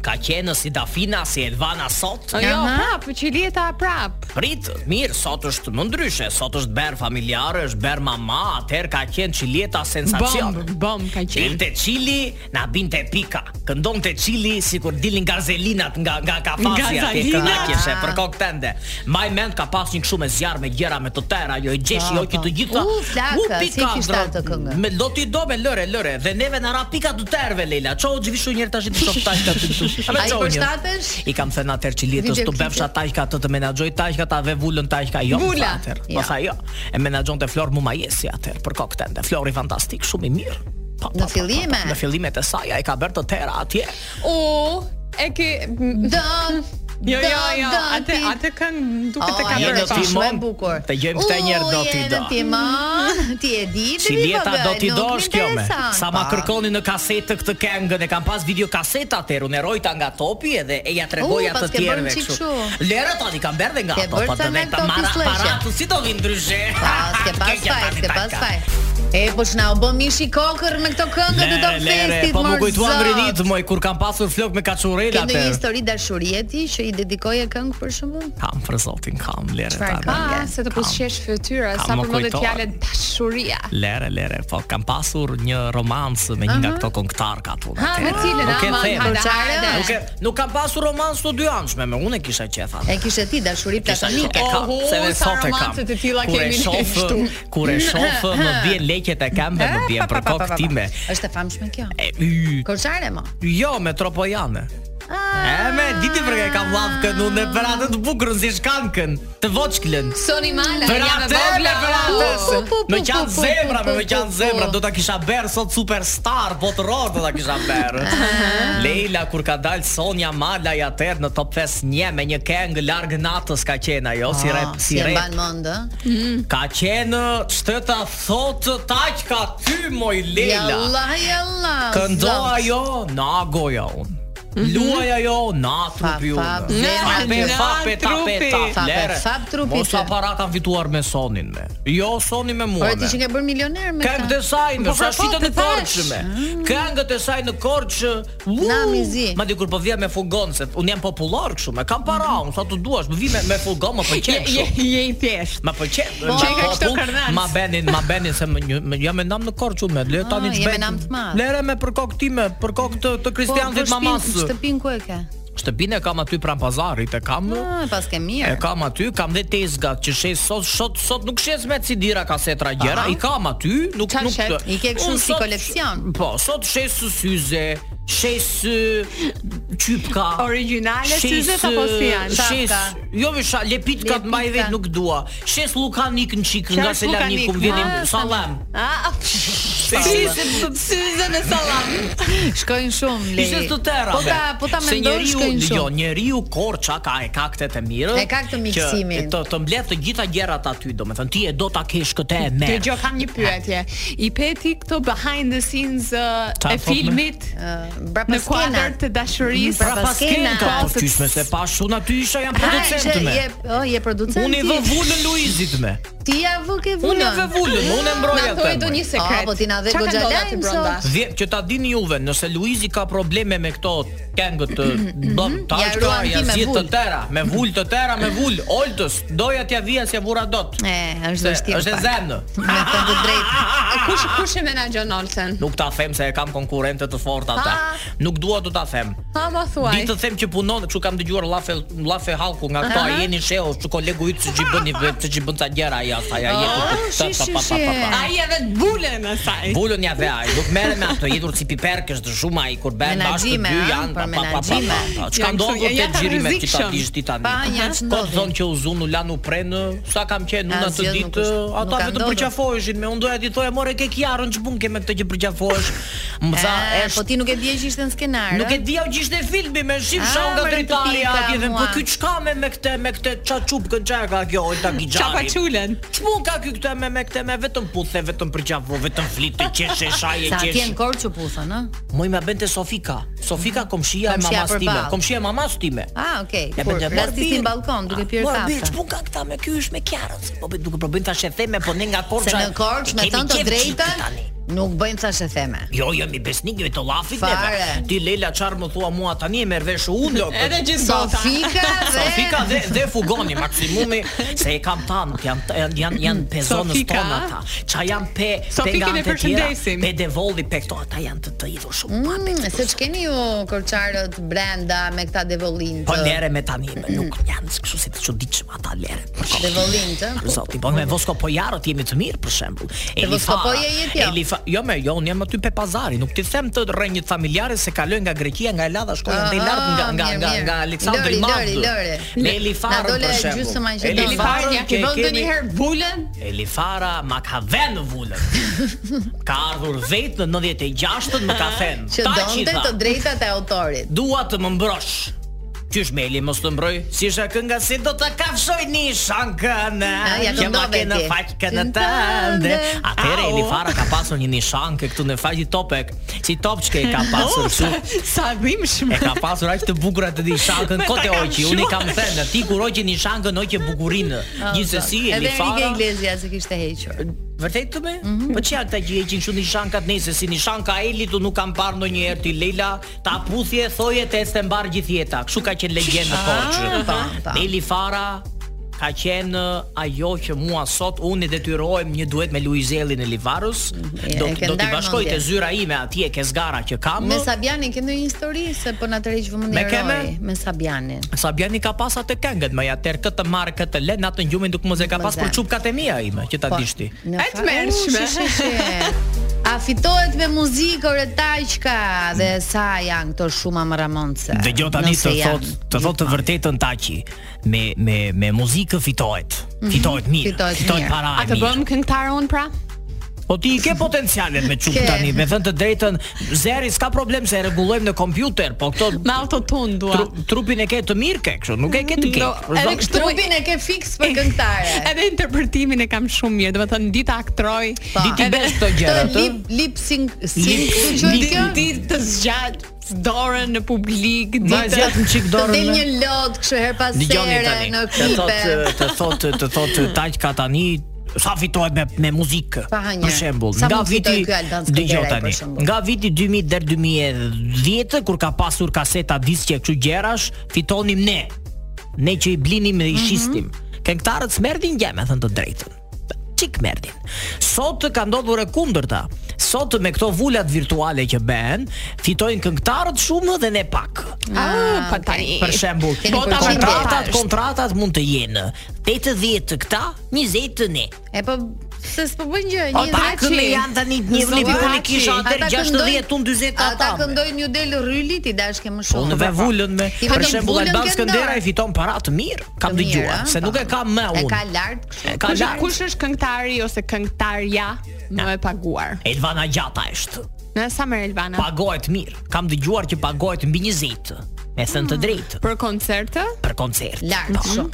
[SPEAKER 9] Ka qenë si Dafina, si Edvana sot.
[SPEAKER 8] Jo,
[SPEAKER 7] Aha.
[SPEAKER 8] prap, qilieta prap.
[SPEAKER 9] Prit, mirë, sot është më ndryshe, sot është ber familjare, është ber mama, atëherë ka qenë Çilieta sensacion.
[SPEAKER 8] Bomb, bomb ka qenë.
[SPEAKER 9] Dilte Çili, na binte pika. Këndonte Çili sikur dilin gazelinat nga nga kafasi
[SPEAKER 8] Gazelinat?
[SPEAKER 9] atje kënaqeshe për kokë tende. Maj mend ka pas një kështu me zjarr me gjëra me të tëra, jo i gjeshi
[SPEAKER 7] Po,
[SPEAKER 9] jo që
[SPEAKER 7] po.
[SPEAKER 9] të gjitha.
[SPEAKER 7] U, flakë, si kishte
[SPEAKER 9] dro-
[SPEAKER 7] atë këngë?
[SPEAKER 9] Me do ti do me lëre, lëre dhe neve na ra pika të tërve Leila. Ço u gjvishu një herë tash i të shoh tash aty këtu. A me
[SPEAKER 7] Ai po
[SPEAKER 9] çonjën.
[SPEAKER 7] përshtatesh?
[SPEAKER 9] I kam thënë atëherë Çilietës
[SPEAKER 7] Video
[SPEAKER 9] të bëfsh
[SPEAKER 7] klipe.
[SPEAKER 9] ataj ka të të menaxhoj tajka ta dhe vulën tajka jo. më
[SPEAKER 7] Vula.
[SPEAKER 9] tha atëherë.
[SPEAKER 7] Jo.
[SPEAKER 9] Po tha jo. E menaxhonte Flor Mumajesi atëherë për kokë tende. Flori fantastik, shumë i mirë. Po, po,
[SPEAKER 7] Në
[SPEAKER 9] po, po,
[SPEAKER 7] fillime?
[SPEAKER 9] po, Në fillimet e saj ai ka bërë të tëra atje.
[SPEAKER 8] U, e ke
[SPEAKER 7] Don.
[SPEAKER 8] Jo, jo,
[SPEAKER 7] don,
[SPEAKER 8] jo,
[SPEAKER 7] don,
[SPEAKER 8] atë
[SPEAKER 7] ti-
[SPEAKER 8] atë këngë
[SPEAKER 7] O,
[SPEAKER 8] duket e ka
[SPEAKER 7] jeni
[SPEAKER 9] jene
[SPEAKER 8] bërë.
[SPEAKER 9] do
[SPEAKER 8] pa.
[SPEAKER 9] ti-
[SPEAKER 7] shumë e
[SPEAKER 9] timon,
[SPEAKER 7] bukur.
[SPEAKER 9] të gjejmë këtë njerë do t'i
[SPEAKER 7] Ujë
[SPEAKER 9] do.
[SPEAKER 7] në timon, ti e di ti
[SPEAKER 9] Çilieta
[SPEAKER 7] bë,
[SPEAKER 9] do t'i
[SPEAKER 7] nuk
[SPEAKER 9] dosh kjo me.
[SPEAKER 7] m'intereson.
[SPEAKER 9] Sa ma
[SPEAKER 7] Po.
[SPEAKER 9] kërkoni në kasetë këtë këngën, e kam pas video kasetë atëherë, unë e rojta nga topi edhe e ja tregoja
[SPEAKER 7] U, pas
[SPEAKER 9] të
[SPEAKER 7] ke
[SPEAKER 9] tjerëve
[SPEAKER 7] bërë qik
[SPEAKER 9] kështu.
[SPEAKER 7] kështu.
[SPEAKER 9] Lera tani kam bërë dhe nga
[SPEAKER 7] Ke
[SPEAKER 9] ato,
[SPEAKER 7] bërë
[SPEAKER 9] po
[SPEAKER 7] ca
[SPEAKER 9] të
[SPEAKER 7] nga
[SPEAKER 9] vetë
[SPEAKER 7] këto
[SPEAKER 9] mara
[SPEAKER 7] pisleshe.
[SPEAKER 9] paratu si do vi ndryshe.
[SPEAKER 7] Pa, s'ke pas
[SPEAKER 9] Kegja
[SPEAKER 7] faj,
[SPEAKER 9] tani
[SPEAKER 7] s'ke pas
[SPEAKER 9] tajka.
[SPEAKER 7] faj. E, po që na u bë mishi kokër me këto këngë të Dog Festit,
[SPEAKER 9] po më
[SPEAKER 7] mor
[SPEAKER 9] kujtuan
[SPEAKER 7] zot.
[SPEAKER 9] vrinit, moj, kur kam pasur flok me kaçurel
[SPEAKER 7] Ke
[SPEAKER 9] atë.
[SPEAKER 7] ndonjë histori dashurie ti që i dedikoje këngë për shembull?
[SPEAKER 9] Kam për zotin, kam lere
[SPEAKER 7] Çfarë
[SPEAKER 9] tani.
[SPEAKER 7] ka?
[SPEAKER 8] Ah, se të pushesh fytyra,
[SPEAKER 9] Kam
[SPEAKER 8] sa
[SPEAKER 9] më
[SPEAKER 8] përmendet
[SPEAKER 9] kujtohet.
[SPEAKER 8] fjalën dashuria.
[SPEAKER 9] Lere, lere, po kam pasur një romancë me një nga këto këngëtar ka thonë.
[SPEAKER 8] Ha, Ah, me cilën,
[SPEAKER 9] Nuk e
[SPEAKER 8] aman,
[SPEAKER 9] them.
[SPEAKER 8] hajde,
[SPEAKER 7] Çare?
[SPEAKER 8] hajde.
[SPEAKER 9] Nuk e nuk kam pasur romancë të dy anshme, me unë e kisha qef atë.
[SPEAKER 7] E kishe ti dashuri
[SPEAKER 9] Kisha Oh, qef,
[SPEAKER 7] platonike.
[SPEAKER 9] e kam,
[SPEAKER 8] Oho,
[SPEAKER 9] se dhe
[SPEAKER 8] sa
[SPEAKER 9] sot e kam.
[SPEAKER 8] romancë të tilla
[SPEAKER 9] Kur e
[SPEAKER 8] kemi ne
[SPEAKER 9] shoh,
[SPEAKER 8] këtu.
[SPEAKER 9] Kur e shoh, më vjen leqet e kam dhe më vjen për kokë time.
[SPEAKER 7] Është e famshme kjo.
[SPEAKER 9] E, y,
[SPEAKER 7] Korçare mo.
[SPEAKER 9] Jo, me tropojane. E me, diti për e kam lavë kënë unë e për atë të bukurën si shkankën, të voçklën.
[SPEAKER 8] Soni Mala,
[SPEAKER 9] Për
[SPEAKER 8] jam e
[SPEAKER 9] atë,
[SPEAKER 8] vogla.
[SPEAKER 7] Po,
[SPEAKER 9] për
[SPEAKER 7] po,
[SPEAKER 9] atë.
[SPEAKER 7] po,
[SPEAKER 9] Më
[SPEAKER 7] po, po,
[SPEAKER 9] qanë
[SPEAKER 7] po,
[SPEAKER 9] zemra,
[SPEAKER 7] po,
[SPEAKER 9] më qanë
[SPEAKER 7] po,
[SPEAKER 9] zemra,
[SPEAKER 7] po.
[SPEAKER 9] do ta kisha berë sot superstar, botëror do ta kisha berë. Leila kur ka dalë Sonja Mala ja tërë në Top Fest 1 me një këngë larg natës ka qenë ajo, si rep,
[SPEAKER 7] Ah,
[SPEAKER 9] si
[SPEAKER 7] e
[SPEAKER 9] rep.
[SPEAKER 7] mban mend, ë?
[SPEAKER 9] Ka qenë shtëta thotë taq ka ty moj
[SPEAKER 7] Ja
[SPEAKER 9] Leila. jo
[SPEAKER 7] Allah, ja Allah.
[SPEAKER 9] Këndo
[SPEAKER 7] zot.
[SPEAKER 9] ajo, na goja unë. Luaj ajo, na trupi unë.
[SPEAKER 7] fap,
[SPEAKER 9] Ne
[SPEAKER 7] zemra,
[SPEAKER 9] fape,
[SPEAKER 7] Mhm. na
[SPEAKER 9] fape, tape,
[SPEAKER 8] trupi.
[SPEAKER 9] tape,
[SPEAKER 7] Fape,
[SPEAKER 9] lere.
[SPEAKER 7] fap trupi
[SPEAKER 9] Mos
[SPEAKER 7] ty.
[SPEAKER 9] para kanë fituar me Sonin me. Jo, Soni me mua.
[SPEAKER 7] Por ti
[SPEAKER 9] me.
[SPEAKER 7] që ke bërë milioner me
[SPEAKER 9] Këngët e
[SPEAKER 7] këtë.
[SPEAKER 9] saj me
[SPEAKER 8] Po,
[SPEAKER 9] sa
[SPEAKER 8] po, po,
[SPEAKER 9] shitën
[SPEAKER 8] të
[SPEAKER 9] në
[SPEAKER 8] thash.
[SPEAKER 9] Korçë me. Këngët e saj në Korçë. uu,
[SPEAKER 7] Na, mizi.
[SPEAKER 9] Ma di kur po vija me fugon se un jam popullor kështu, me kam para, un sa të duash, më vi me, me fugon, më pëlqen
[SPEAKER 8] Je- je-
[SPEAKER 9] kështu.
[SPEAKER 8] Je i thjesht.
[SPEAKER 9] Ma pëlqen.
[SPEAKER 7] Po,
[SPEAKER 9] Çe
[SPEAKER 7] ka
[SPEAKER 8] kështu kërnac.
[SPEAKER 9] Ma benin, ma benin se më, një- më jam me nam në Korçë unë, me le tani
[SPEAKER 7] Ah, je me nam të madh.
[SPEAKER 9] Lere me për kokë time, për kokë të,
[SPEAKER 8] Po,
[SPEAKER 9] të
[SPEAKER 7] Po,
[SPEAKER 9] Kristianit mamas.
[SPEAKER 7] Shtëpin ku e ke?
[SPEAKER 9] Shtëpinë e kam aty pranë pazarit, e kam.
[SPEAKER 7] Ah, pas ke
[SPEAKER 9] E
[SPEAKER 7] mirë.
[SPEAKER 9] kam aty, kam dhe tezgat që shes sot sot sot nuk shes me cidira kasetra gjëra, i kam aty, nuk
[SPEAKER 8] Qa
[SPEAKER 9] nuk.
[SPEAKER 8] shet?
[SPEAKER 9] të-
[SPEAKER 7] I ke kështu
[SPEAKER 9] Unë
[SPEAKER 7] si
[SPEAKER 9] sot-
[SPEAKER 7] koleksion?
[SPEAKER 9] Po, sot shes syze, shes ë, qypka.
[SPEAKER 8] Origjinale
[SPEAKER 9] shes,
[SPEAKER 8] syze apo si janë?
[SPEAKER 9] Shes,
[SPEAKER 7] Shafka.
[SPEAKER 9] jo me sha, lepitkat
[SPEAKER 7] Lepitka.
[SPEAKER 9] mbaj vet nuk dua. Shes lukanik në çik
[SPEAKER 8] Qa
[SPEAKER 9] nga
[SPEAKER 8] është lukanik?
[SPEAKER 9] selaniku vjen
[SPEAKER 8] Ah,
[SPEAKER 9] sallam.
[SPEAKER 8] Ah, syze me sallam.
[SPEAKER 7] Shkojnë shumë le.
[SPEAKER 9] Ishte të tëra.
[SPEAKER 7] Po ta po ta mendosh shkojnë
[SPEAKER 9] Jo,
[SPEAKER 7] shumë.
[SPEAKER 9] njeriu korça ka e ka këtë të mirë.
[SPEAKER 7] E ka këtë
[SPEAKER 9] që
[SPEAKER 7] miksimin.
[SPEAKER 9] Të të mbledh të gjitha gjërat aty, domethënë ti e do ta kesh këtë e merr.
[SPEAKER 8] Dëgjoj kam një pyetje. I peti këto behind the scenes uh,
[SPEAKER 9] Qa
[SPEAKER 8] e
[SPEAKER 9] thot me?
[SPEAKER 8] filmit
[SPEAKER 7] Ë, brapa
[SPEAKER 8] në
[SPEAKER 7] skena.
[SPEAKER 8] kuadër të dashurisë.
[SPEAKER 7] Pra
[SPEAKER 9] Pas
[SPEAKER 7] Skena.
[SPEAKER 9] kena ka qysh me se pa shun aty isha jam
[SPEAKER 7] Ha,
[SPEAKER 9] producent
[SPEAKER 7] që
[SPEAKER 9] me.
[SPEAKER 7] je, oh, je producent.
[SPEAKER 9] Unë i vë
[SPEAKER 7] ti.
[SPEAKER 9] vullën Luizit me.
[SPEAKER 7] Ti ja vë ke vullën.
[SPEAKER 9] Unë i vë vullën, unë e mbroj
[SPEAKER 8] Na
[SPEAKER 9] atë.
[SPEAKER 8] thoi do
[SPEAKER 9] moj.
[SPEAKER 8] një sekret.
[SPEAKER 7] Ah, po ti na dhe
[SPEAKER 8] Qa ka
[SPEAKER 7] goxha
[SPEAKER 8] ndodhur
[SPEAKER 7] lajm
[SPEAKER 8] aty brenda?
[SPEAKER 9] Dhe që ta dini juve, nëse Luizi ka probleme me këto këngët të bëm
[SPEAKER 7] Ja
[SPEAKER 9] tash ka
[SPEAKER 7] ruan ti
[SPEAKER 9] ja
[SPEAKER 7] me
[SPEAKER 9] zjet të
[SPEAKER 7] vull.
[SPEAKER 9] tëra, me vul të tëra, me vul Oltës, doja t'ja vija s'ja vura dot.
[SPEAKER 7] E, është
[SPEAKER 9] Se
[SPEAKER 7] vështirë.
[SPEAKER 9] Është e
[SPEAKER 7] pak.
[SPEAKER 9] zemnë.
[SPEAKER 7] Me të të drejtë.
[SPEAKER 8] Kush kush e menaxhon Olsen?
[SPEAKER 9] Nuk ta them se e kam konkurrente të forta ata.
[SPEAKER 8] Ah.
[SPEAKER 9] Nuk dua të ta them.
[SPEAKER 8] Ha ma thuaj.
[SPEAKER 9] Di të them që punon, kështu kam dëgjuar llafe llafe halku nga këto a jeni shehu, çu kolegu yt se ç'i bëni vetë, ç'i bën ta gjëra ajo, sa ja
[SPEAKER 7] Oh,
[SPEAKER 9] jetu. ta- ta- ta- ta- ta- ta.
[SPEAKER 8] Ai edhe të bulën asaj.
[SPEAKER 9] Bulën ja dhe ai, nuk merre me ato jetur si piperkës të shumë ai kur bën bashkë të
[SPEAKER 7] Menaxhime,
[SPEAKER 9] dy
[SPEAKER 7] a?
[SPEAKER 9] janë
[SPEAKER 7] Për
[SPEAKER 9] pa pa pa pa.
[SPEAKER 7] menaxhime.
[SPEAKER 9] pa. Çka
[SPEAKER 8] Janë
[SPEAKER 9] ndodh
[SPEAKER 8] këto-
[SPEAKER 9] te
[SPEAKER 8] janë të
[SPEAKER 9] xhirimet që ta
[SPEAKER 8] rrezikshëm.
[SPEAKER 9] dish ti tani.
[SPEAKER 7] Pa, janë që
[SPEAKER 9] Kot
[SPEAKER 7] ndodhin.
[SPEAKER 9] thonë që u zun, u lan u pren, sa kam qenë unë atë
[SPEAKER 7] Asgjë nuk
[SPEAKER 9] ditë,
[SPEAKER 7] është- nuk
[SPEAKER 9] ata
[SPEAKER 7] ka
[SPEAKER 9] vetëm
[SPEAKER 7] ndodhur.
[SPEAKER 9] përqafoheshin, me unë doja ti thoja more ke kiarën ç'bun ke me këtë që përqafohesh. Më tha,
[SPEAKER 7] E,
[SPEAKER 9] "Është
[SPEAKER 7] po ti nuk e dije që ishte në skenar.
[SPEAKER 9] Nuk e
[SPEAKER 7] ë?
[SPEAKER 9] dija që ishte filmi me shif
[SPEAKER 7] Ah,
[SPEAKER 9] shau nga
[SPEAKER 7] mërë të
[SPEAKER 9] dritari
[SPEAKER 7] pika,
[SPEAKER 9] atje dhe po
[SPEAKER 7] mua.
[SPEAKER 9] ky çka me me këtë me këtë çaçupkën çka ka kjo Olta
[SPEAKER 8] Çapa
[SPEAKER 9] Gixhari.
[SPEAKER 8] çulën.
[SPEAKER 9] Çmon ka ky këtë me me këtë me vetëm puthe, vetëm për gjavo, vetëm flitë, qeshe, shaje,
[SPEAKER 7] Sa atje
[SPEAKER 9] qeshe.
[SPEAKER 7] në korë që puthën, ë?
[SPEAKER 9] Moj më bente Sofika. Sofika
[SPEAKER 7] Mm.
[SPEAKER 9] komshia e
[SPEAKER 7] Komshia
[SPEAKER 9] mamas time,
[SPEAKER 7] përballë.
[SPEAKER 9] komshia e mamas time.
[SPEAKER 7] Ah, okay.
[SPEAKER 9] Ja,
[SPEAKER 7] Kur
[SPEAKER 9] bënte, "Mor,
[SPEAKER 7] rasti
[SPEAKER 9] bir, Ah,
[SPEAKER 7] në balkon duke pirë
[SPEAKER 9] mor, bir,
[SPEAKER 7] kafe.
[SPEAKER 9] Ç'pun ka këta me ky është me Kiarën. Po bëj duke po bëjnë tash e theme, po ne nga Korça.
[SPEAKER 7] Se në Korçë me
[SPEAKER 9] kemi
[SPEAKER 7] thënë të
[SPEAKER 9] qef gjithë
[SPEAKER 7] drejtën,
[SPEAKER 9] tani.
[SPEAKER 7] Nuk bëjmë thash e theme.
[SPEAKER 9] Jo, jo, mi besnik me të llafit
[SPEAKER 7] Fare.
[SPEAKER 9] neve. Ti Leila çfarë më thua mua tani e merr vesh unë jo, po- lok.
[SPEAKER 8] Edhe gjithë bota.
[SPEAKER 7] Sofika dhe
[SPEAKER 9] Sofika dhe dhe fugoni maksimumi se e kam tan, janë janë janë janë pe zonës
[SPEAKER 8] Sofika.
[SPEAKER 9] tonë ata. Ça janë pe pe
[SPEAKER 8] Sofikin e
[SPEAKER 9] gante tjera,
[SPEAKER 8] përshëndesim.
[SPEAKER 9] pe devolli, pe këto ata janë të të idhur shumë pa pe.
[SPEAKER 7] Mm, se ç'keni ju korçarët brenda me këta devollinë
[SPEAKER 9] Po
[SPEAKER 7] të
[SPEAKER 9] lere me tani, me nuk janë kështu si të çuditshëm ata lere.
[SPEAKER 7] devollinë të.
[SPEAKER 9] Për zoti, po me voskopojarët jemi të mirë për shembull.
[SPEAKER 7] voskopoje je ti, jo?
[SPEAKER 9] Elifa, jo më, jo, unë jam aty pe pazari, nuk ti them të rrënjët familjare se kalojnë nga Greqia, nga Elada, shkojnë
[SPEAKER 7] Aha,
[SPEAKER 9] ndaj lart nga nga
[SPEAKER 7] mirë,
[SPEAKER 9] nga
[SPEAKER 7] mirë.
[SPEAKER 9] nga
[SPEAKER 7] Lori,
[SPEAKER 9] Aleksandri Madh.
[SPEAKER 7] Lori, Lori.
[SPEAKER 9] Me
[SPEAKER 7] Na
[SPEAKER 9] Elifarën
[SPEAKER 7] dole
[SPEAKER 9] për shembull.
[SPEAKER 7] gjysma që do.
[SPEAKER 9] Elifarën
[SPEAKER 8] Elifania,
[SPEAKER 9] që
[SPEAKER 8] ke vënë
[SPEAKER 9] kemi-
[SPEAKER 8] ndonjëherë bulën?
[SPEAKER 9] Elifara ma ka vënë vullën. Ka ardhur vetë në 96-ën më ka thënë.
[SPEAKER 7] Që
[SPEAKER 9] "Ta që i
[SPEAKER 7] donte
[SPEAKER 9] tha,
[SPEAKER 7] të drejtat e autorit.
[SPEAKER 9] Dua të më mbrosh. Qysh me Eli mos të mbroj, si isha kënga si do ta kafshoj një shankën.
[SPEAKER 7] A, ja
[SPEAKER 9] ma
[SPEAKER 7] këndove
[SPEAKER 9] ke në
[SPEAKER 7] ti.
[SPEAKER 9] faqkën e tënde. Atëre
[SPEAKER 8] Au.
[SPEAKER 9] Eli Fara ka pasur një nishankë këtu në faqi topek. Si topçke e ka pasur kështu.
[SPEAKER 8] Sa bim
[SPEAKER 9] E ka pasur aq të bukura të nishankën
[SPEAKER 8] Me ta
[SPEAKER 9] kot e
[SPEAKER 8] kam
[SPEAKER 9] oqi. Unë i
[SPEAKER 8] shuar.
[SPEAKER 9] kam thënë, ti kur oqi nishankën oqi bukurinë. Gjithsesi
[SPEAKER 7] Oh, Edhe
[SPEAKER 9] Eli
[SPEAKER 7] Enrique
[SPEAKER 9] Fara
[SPEAKER 7] Iglesias e kishte hequr.
[SPEAKER 9] Vërtet të me?
[SPEAKER 7] Mhm.
[SPEAKER 9] Po çka këta që heqin kështu nishankat nëse si nishanka e Elit unë nuk kam parë ndonjëherë ti Leila ta puthje thoje të ecte mbar gjithë jeta. Kështu ka qenë legjendë në
[SPEAKER 7] po, po.
[SPEAKER 9] Korçë. Eli Fara ka qenë ë, ajo që mua sot unë i detyrohem një duet me Luizelin e Livarës.
[SPEAKER 7] E,
[SPEAKER 9] Do
[SPEAKER 7] Mhm. e ke
[SPEAKER 9] do t'i
[SPEAKER 7] ndarë
[SPEAKER 9] bashkoj
[SPEAKER 7] mendje.
[SPEAKER 9] të zyra ime atje ke zgara që kam.
[SPEAKER 7] Me Sabianin ke ndonjë histori se po na tërheq vëmendjen
[SPEAKER 9] Me
[SPEAKER 7] e
[SPEAKER 9] keme?
[SPEAKER 7] Roy, me Sabianin.
[SPEAKER 9] Sabiani ka pas atë këngët më ja tër këtë marr këtë le natë ngjumin nuk mos e ka pas për
[SPEAKER 7] Mëzë.
[SPEAKER 9] çupkat e mia ime që ta dish ti.
[SPEAKER 7] Po, në
[SPEAKER 8] E
[SPEAKER 7] fa-
[SPEAKER 8] t'merrshme.
[SPEAKER 7] U, shi, shi, shi. A fitohet me muzikë o retaqka dhe sa janë këto shumë amaramonce.
[SPEAKER 9] Dëgjoj jo tani
[SPEAKER 7] nëse
[SPEAKER 9] të
[SPEAKER 7] janë
[SPEAKER 9] thot të thot të
[SPEAKER 7] gjithmonë.
[SPEAKER 9] vërtetën taqi. Me me me muzikë fitohet. Fitohet mirë.
[SPEAKER 7] Mhm, Fitohet mirë.
[SPEAKER 9] para
[SPEAKER 8] A
[SPEAKER 9] e
[SPEAKER 8] të
[SPEAKER 9] mirë.
[SPEAKER 8] bëm këngëtar un pra?
[SPEAKER 9] Po ti i ke potencialet me çup
[SPEAKER 7] Ke.
[SPEAKER 9] tani, me thënë të drejtën, zeri s'ka problem se e rregullojmë në kompjuter, po këto
[SPEAKER 8] Me autotune dua.
[SPEAKER 9] tru, trupin e ke të mirë ke kështu, nuk e ke të
[SPEAKER 8] Mm,
[SPEAKER 9] ke.
[SPEAKER 8] No, edhe kështu-
[SPEAKER 7] Trupin e ke fiks për këngëtare.
[SPEAKER 8] Edhe interpretimin e kam shumë mirë, do të thënë dita aktroj,
[SPEAKER 7] Po.
[SPEAKER 9] Ti ti bësh këto gjëra
[SPEAKER 7] Të
[SPEAKER 9] të?
[SPEAKER 7] lip lip sync sync,
[SPEAKER 9] Lip-
[SPEAKER 7] si quhet
[SPEAKER 8] Di-
[SPEAKER 7] kjo?
[SPEAKER 8] ditë të zgjat dorën në publik,
[SPEAKER 9] Ma
[SPEAKER 8] ditë
[SPEAKER 9] zjat në çik
[SPEAKER 7] Të
[SPEAKER 9] dorën.
[SPEAKER 7] del
[SPEAKER 9] me-
[SPEAKER 7] një lot kështu her pas
[SPEAKER 9] Dëgjoni
[SPEAKER 7] here
[SPEAKER 9] tani.
[SPEAKER 7] në
[SPEAKER 9] Të
[SPEAKER 7] klipe.
[SPEAKER 9] thotë të thotë të thotë Taqka tani sa fitohet me me muzikë.
[SPEAKER 7] Pa hanjer.
[SPEAKER 9] Për shembull,
[SPEAKER 7] Sa
[SPEAKER 9] nga
[SPEAKER 7] mund fitoj
[SPEAKER 9] viti
[SPEAKER 7] ky Alban Skënderaj,
[SPEAKER 9] dëgjoj
[SPEAKER 7] për
[SPEAKER 9] tani.
[SPEAKER 7] shembull?
[SPEAKER 9] Nga viti 2000 deri 2010 kur ka pasur kaseta diskje kështu gjerash, fitonim ne. Ne që i blinim
[SPEAKER 7] Mhm.
[SPEAKER 9] dhe i shistim. Këngëtarët smerdin gjë, me thënë të drejtën. Çik merdin. Sot ka ndodhur e kundërta. Sot me këto vulat virtuale që bëhen, fitojnë këngëtarët shumë dhe ne pak.
[SPEAKER 8] Ah, po tani.
[SPEAKER 9] Për shembull,
[SPEAKER 7] Keni
[SPEAKER 9] po ta
[SPEAKER 7] përgjigje.
[SPEAKER 9] kontratat,
[SPEAKER 8] Është.
[SPEAKER 9] kontratat mund të jenë 80 të këta, 20 të ne.
[SPEAKER 7] E po se s'po bën gjë,
[SPEAKER 9] O
[SPEAKER 7] një
[SPEAKER 9] Po ta
[SPEAKER 8] Taci.
[SPEAKER 9] kënë janë tani një një
[SPEAKER 8] Zotaci.
[SPEAKER 9] unë i kisha atër 60 unë 40
[SPEAKER 7] Ata
[SPEAKER 9] ata. me.
[SPEAKER 7] këndojnë një del rryli ti dash ke më
[SPEAKER 9] Unë
[SPEAKER 7] shumë.
[SPEAKER 9] me vullën me
[SPEAKER 7] Ti
[SPEAKER 9] Për
[SPEAKER 7] vetëm
[SPEAKER 9] shembull
[SPEAKER 7] vullën
[SPEAKER 9] Alban
[SPEAKER 7] ke
[SPEAKER 9] Skëndera
[SPEAKER 7] ndarë.
[SPEAKER 9] i fiton para të mirë Kam
[SPEAKER 7] Të mirë,
[SPEAKER 9] dëgjuar
[SPEAKER 7] a?
[SPEAKER 9] Se nuk
[SPEAKER 7] Po.
[SPEAKER 9] e kam me unë
[SPEAKER 7] E ka lart kështu.
[SPEAKER 9] E ka
[SPEAKER 8] Kush,
[SPEAKER 9] lartë
[SPEAKER 8] kush është këngëtari ose këngëtarja më e paguar?
[SPEAKER 9] Elvana Gjata është
[SPEAKER 8] Në sa merr Elvana?
[SPEAKER 9] Pagohet mirë Kam dëgjuar që pagohet mbi 20 Me thënë
[SPEAKER 7] Mm.
[SPEAKER 9] të drejtë
[SPEAKER 8] Për koncerte?
[SPEAKER 9] Për koncert
[SPEAKER 7] Lart shumë.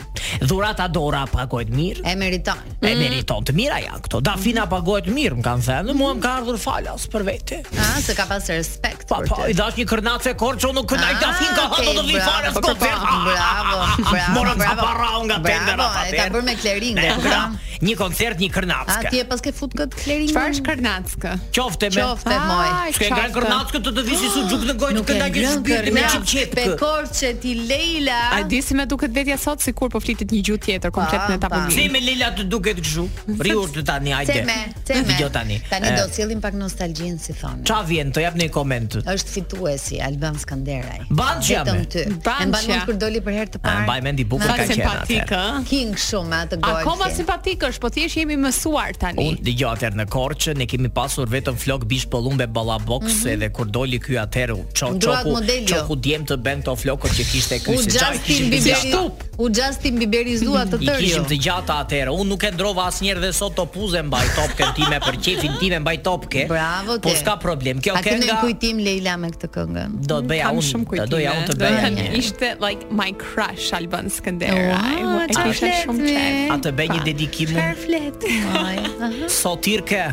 [SPEAKER 9] Dhurata Dora pagohet mirë
[SPEAKER 7] Mm. E Mm. meriton.
[SPEAKER 9] E meriton të mira janë këto. Dafina pagohet mirë, më kanë thënë. Mua më ka ardhur falas për vete.
[SPEAKER 7] A, se ka pas respekt
[SPEAKER 9] Pa,
[SPEAKER 7] për
[SPEAKER 9] pa,
[SPEAKER 7] ty.
[SPEAKER 9] Po, i dash një kërnace korço nuk kënaj
[SPEAKER 7] Ah,
[SPEAKER 9] Dafin ka hënë do të vi
[SPEAKER 7] okay,
[SPEAKER 9] fare
[SPEAKER 7] bravo,
[SPEAKER 9] skote.
[SPEAKER 7] po, po, bravo, bravo,
[SPEAKER 9] Morën ca
[SPEAKER 7] bravo.
[SPEAKER 9] para nga
[SPEAKER 7] Bravo,
[SPEAKER 9] tender ata.
[SPEAKER 7] e ka
[SPEAKER 9] atëherë.
[SPEAKER 7] bërë me klering,
[SPEAKER 9] Ne,
[SPEAKER 7] e kupton?
[SPEAKER 9] gra, Një koncert, një
[SPEAKER 7] A ti
[SPEAKER 9] kërnace.
[SPEAKER 7] e pas ke fut kët klerin?
[SPEAKER 8] Çfarë është Karnackë?
[SPEAKER 9] Qofte me.
[SPEAKER 7] Qofte moj.
[SPEAKER 8] Ai,
[SPEAKER 9] S'ke nga
[SPEAKER 8] qoftë.
[SPEAKER 9] kërnace të të visi su gjuk në gojë,
[SPEAKER 7] Nuk
[SPEAKER 9] nuk e
[SPEAKER 7] e
[SPEAKER 9] ndaj
[SPEAKER 7] ngrën
[SPEAKER 9] shpirtin me
[SPEAKER 7] kërna.
[SPEAKER 9] çipçep.
[SPEAKER 7] Pe korçe ti Leila.
[SPEAKER 8] A di si më duket vetja sot sikur po flitet një gjuhë tjetër komplet
[SPEAKER 7] Pa,
[SPEAKER 8] me ta
[SPEAKER 7] pa.
[SPEAKER 9] Se
[SPEAKER 8] publik.
[SPEAKER 9] me Leila të duket kështu. Riur të tani, hajde.
[SPEAKER 7] Teme, teme.
[SPEAKER 9] Dëgjoj tani.
[SPEAKER 7] Tani
[SPEAKER 9] Eh,
[SPEAKER 7] do sjellim pak nostalgjinë si thonë.
[SPEAKER 9] Ça vjen, të jap një koment.
[SPEAKER 7] Është fituesi Alban Skanderaj.
[SPEAKER 9] Banqja,
[SPEAKER 7] Vetëm
[SPEAKER 9] me.
[SPEAKER 7] ty.
[SPEAKER 8] Banqja.
[SPEAKER 7] E mban mund kur doli për herë të
[SPEAKER 9] A,
[SPEAKER 7] parë.
[SPEAKER 9] mbaj mendi bukur
[SPEAKER 8] Pak
[SPEAKER 9] ka qenë
[SPEAKER 8] simpatik,
[SPEAKER 9] atëherë.
[SPEAKER 8] ë?
[SPEAKER 7] King shumë me atë golfin.
[SPEAKER 8] Akoma simpatik është, po thjesht jemi mësuar tani.
[SPEAKER 9] Unë dëgjoj atëherë në Korçë, ne kemi pasur vetëm flok bish pollumbe ballabox mm -hmm. edhe kur doli ky atëherë ço
[SPEAKER 7] Ndruat
[SPEAKER 9] çoku
[SPEAKER 7] Mhm. modeli, jo.
[SPEAKER 9] çoku djem të bën këto flokët që kishte ky
[SPEAKER 7] U
[SPEAKER 9] se çaj
[SPEAKER 7] Justin
[SPEAKER 9] kishim të
[SPEAKER 7] Biberi.
[SPEAKER 9] gjata.
[SPEAKER 7] U Justin Biberizua të
[SPEAKER 9] I
[SPEAKER 7] tërë. jo.
[SPEAKER 9] kishim
[SPEAKER 7] ju.
[SPEAKER 9] të gjata atëherë. Unë nuk e ndrova asnjëherë dhe sot topuze mbaj topkën time për qefin time mbaj topke.
[SPEAKER 7] Bravo ti.
[SPEAKER 9] Po s'ka problem. Kjo
[SPEAKER 7] A ke
[SPEAKER 9] kënga
[SPEAKER 7] ndonjë kujtim Leila me këtë këngën?
[SPEAKER 9] do të bëja
[SPEAKER 8] Kam
[SPEAKER 9] unë,
[SPEAKER 8] shumë
[SPEAKER 9] do
[SPEAKER 8] kujtime.
[SPEAKER 9] doja unë të bëja
[SPEAKER 8] thënë,
[SPEAKER 9] një.
[SPEAKER 8] Ishte like my crush Alban Skëndera.
[SPEAKER 7] Ua,
[SPEAKER 8] Ai e
[SPEAKER 7] qa
[SPEAKER 8] kisha
[SPEAKER 7] flet
[SPEAKER 8] shumë
[SPEAKER 7] me?
[SPEAKER 8] qejf.
[SPEAKER 9] A të bëj një dedikim unë?
[SPEAKER 8] flet.
[SPEAKER 7] Ai, aha.
[SPEAKER 9] Sotirke,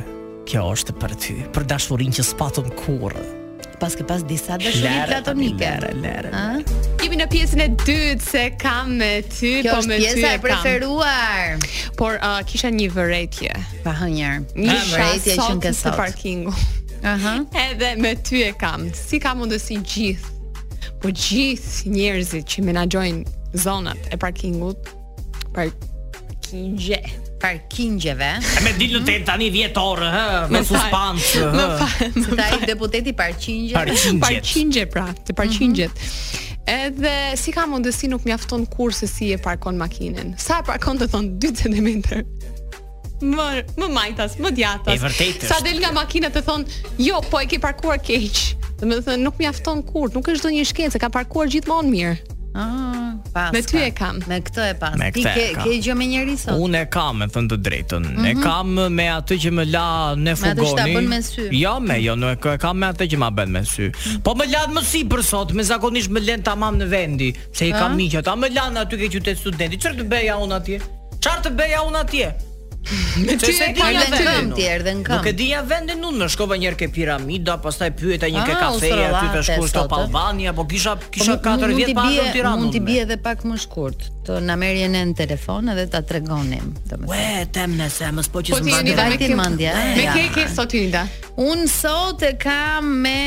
[SPEAKER 9] kjo është për ty, për dashurinë që spatëm kurrë.
[SPEAKER 7] pas ke pas disa dashuri platonike. Ëh?
[SPEAKER 8] Jemi në pjesën e dytë se kam me ty,
[SPEAKER 7] Kjo
[SPEAKER 8] po
[SPEAKER 7] është
[SPEAKER 8] me ty
[SPEAKER 7] pjesa
[SPEAKER 8] e
[SPEAKER 7] e
[SPEAKER 8] kam.
[SPEAKER 7] preferuar.
[SPEAKER 8] Por uh, kisha një vërejtje.
[SPEAKER 7] Pa hënjer.
[SPEAKER 8] Një
[SPEAKER 7] Ah, vërejtje
[SPEAKER 8] shasot
[SPEAKER 7] që
[SPEAKER 8] sot
[SPEAKER 7] nke
[SPEAKER 8] në
[SPEAKER 7] sot.
[SPEAKER 8] parkingu.
[SPEAKER 7] Aha.
[SPEAKER 8] Edhe me ty e kam. Si ka mundësi gjithë. Po gjithë njerëzit që menaxhojnë zonat e parkingut, parkingje.
[SPEAKER 7] Parkingjeve.
[SPEAKER 9] Me dilë në ten tani 10 orë, hë, me
[SPEAKER 8] Më fal-
[SPEAKER 9] suspensë,
[SPEAKER 8] Më
[SPEAKER 9] hë.
[SPEAKER 8] fal,
[SPEAKER 7] Se Ta i deputeti parqingjeve.
[SPEAKER 9] Parqingjet. Mhm.
[SPEAKER 8] parkingje pra, të parkingjet. Edhe si ka mundësi nuk mjafton kur se si e parkon makinën. Sa e parkon të thon 2 cm. Më më majtas, më djatas.
[SPEAKER 9] E vërtetë
[SPEAKER 8] Sa
[SPEAKER 9] është.
[SPEAKER 8] del nga makina të thon, "Jo, po e ke parkuar keq." Do të thënë nuk mjafton kur, nuk është ndonjë shkencë, ka parkuar gjithmonë mirë.
[SPEAKER 7] Ah, pas.
[SPEAKER 8] Me ty
[SPEAKER 7] ka.
[SPEAKER 8] e kam.
[SPEAKER 7] Me këtë e pas.
[SPEAKER 9] Me
[SPEAKER 7] Ti
[SPEAKER 9] këtë e
[SPEAKER 7] ke
[SPEAKER 9] kam.
[SPEAKER 7] ke gjë me njëri sot. Mhm.
[SPEAKER 9] Unë e kam, me thënë të drejtën. E kam me atë që më la në
[SPEAKER 7] Me atë që
[SPEAKER 9] fugoni.
[SPEAKER 7] ta bën me sy. Mhm.
[SPEAKER 9] Jo, me jo, nuk e kam me atë që ma bën me sy. Po më lan më si për sot, me zakonisht më lën tamam në vendi, se i kam miq ata, më lan aty ke qytet studenti. Çfarë të bëja unë atje? Çfarë të bëja unë atje? Me
[SPEAKER 8] ty e kam
[SPEAKER 7] edhe në këmbë ti erdhe në këmbë.
[SPEAKER 9] Nuk e dija vendin unë, më shkova një herë ke piramida, pastaj pyeta një ke
[SPEAKER 7] Ah,
[SPEAKER 9] kafeje aty të
[SPEAKER 7] Ustrollate
[SPEAKER 9] shkuar
[SPEAKER 7] sot,
[SPEAKER 9] top
[SPEAKER 7] ë?
[SPEAKER 9] Albania, po kisha
[SPEAKER 7] Po
[SPEAKER 9] kisha
[SPEAKER 7] mu-
[SPEAKER 9] 4
[SPEAKER 7] mund
[SPEAKER 9] vjet
[SPEAKER 7] t'i
[SPEAKER 9] pa
[SPEAKER 7] bie-
[SPEAKER 9] në Tiranë.
[SPEAKER 7] Mund t'i
[SPEAKER 9] unë me.
[SPEAKER 7] bie edhe pak më shkurt. Të na merrje ne në telefon edhe ta tregonim, domethënë.
[SPEAKER 9] Ue, tem nëse, mos po që
[SPEAKER 8] Po
[SPEAKER 9] s'më
[SPEAKER 8] ti
[SPEAKER 9] bën
[SPEAKER 8] jeni
[SPEAKER 9] dot.
[SPEAKER 7] vajti
[SPEAKER 8] ke-
[SPEAKER 7] mendje,
[SPEAKER 9] Ah,
[SPEAKER 7] eh?
[SPEAKER 8] Me
[SPEAKER 7] Ja.
[SPEAKER 8] ke ke sot Unida.
[SPEAKER 7] Unë sot e kam me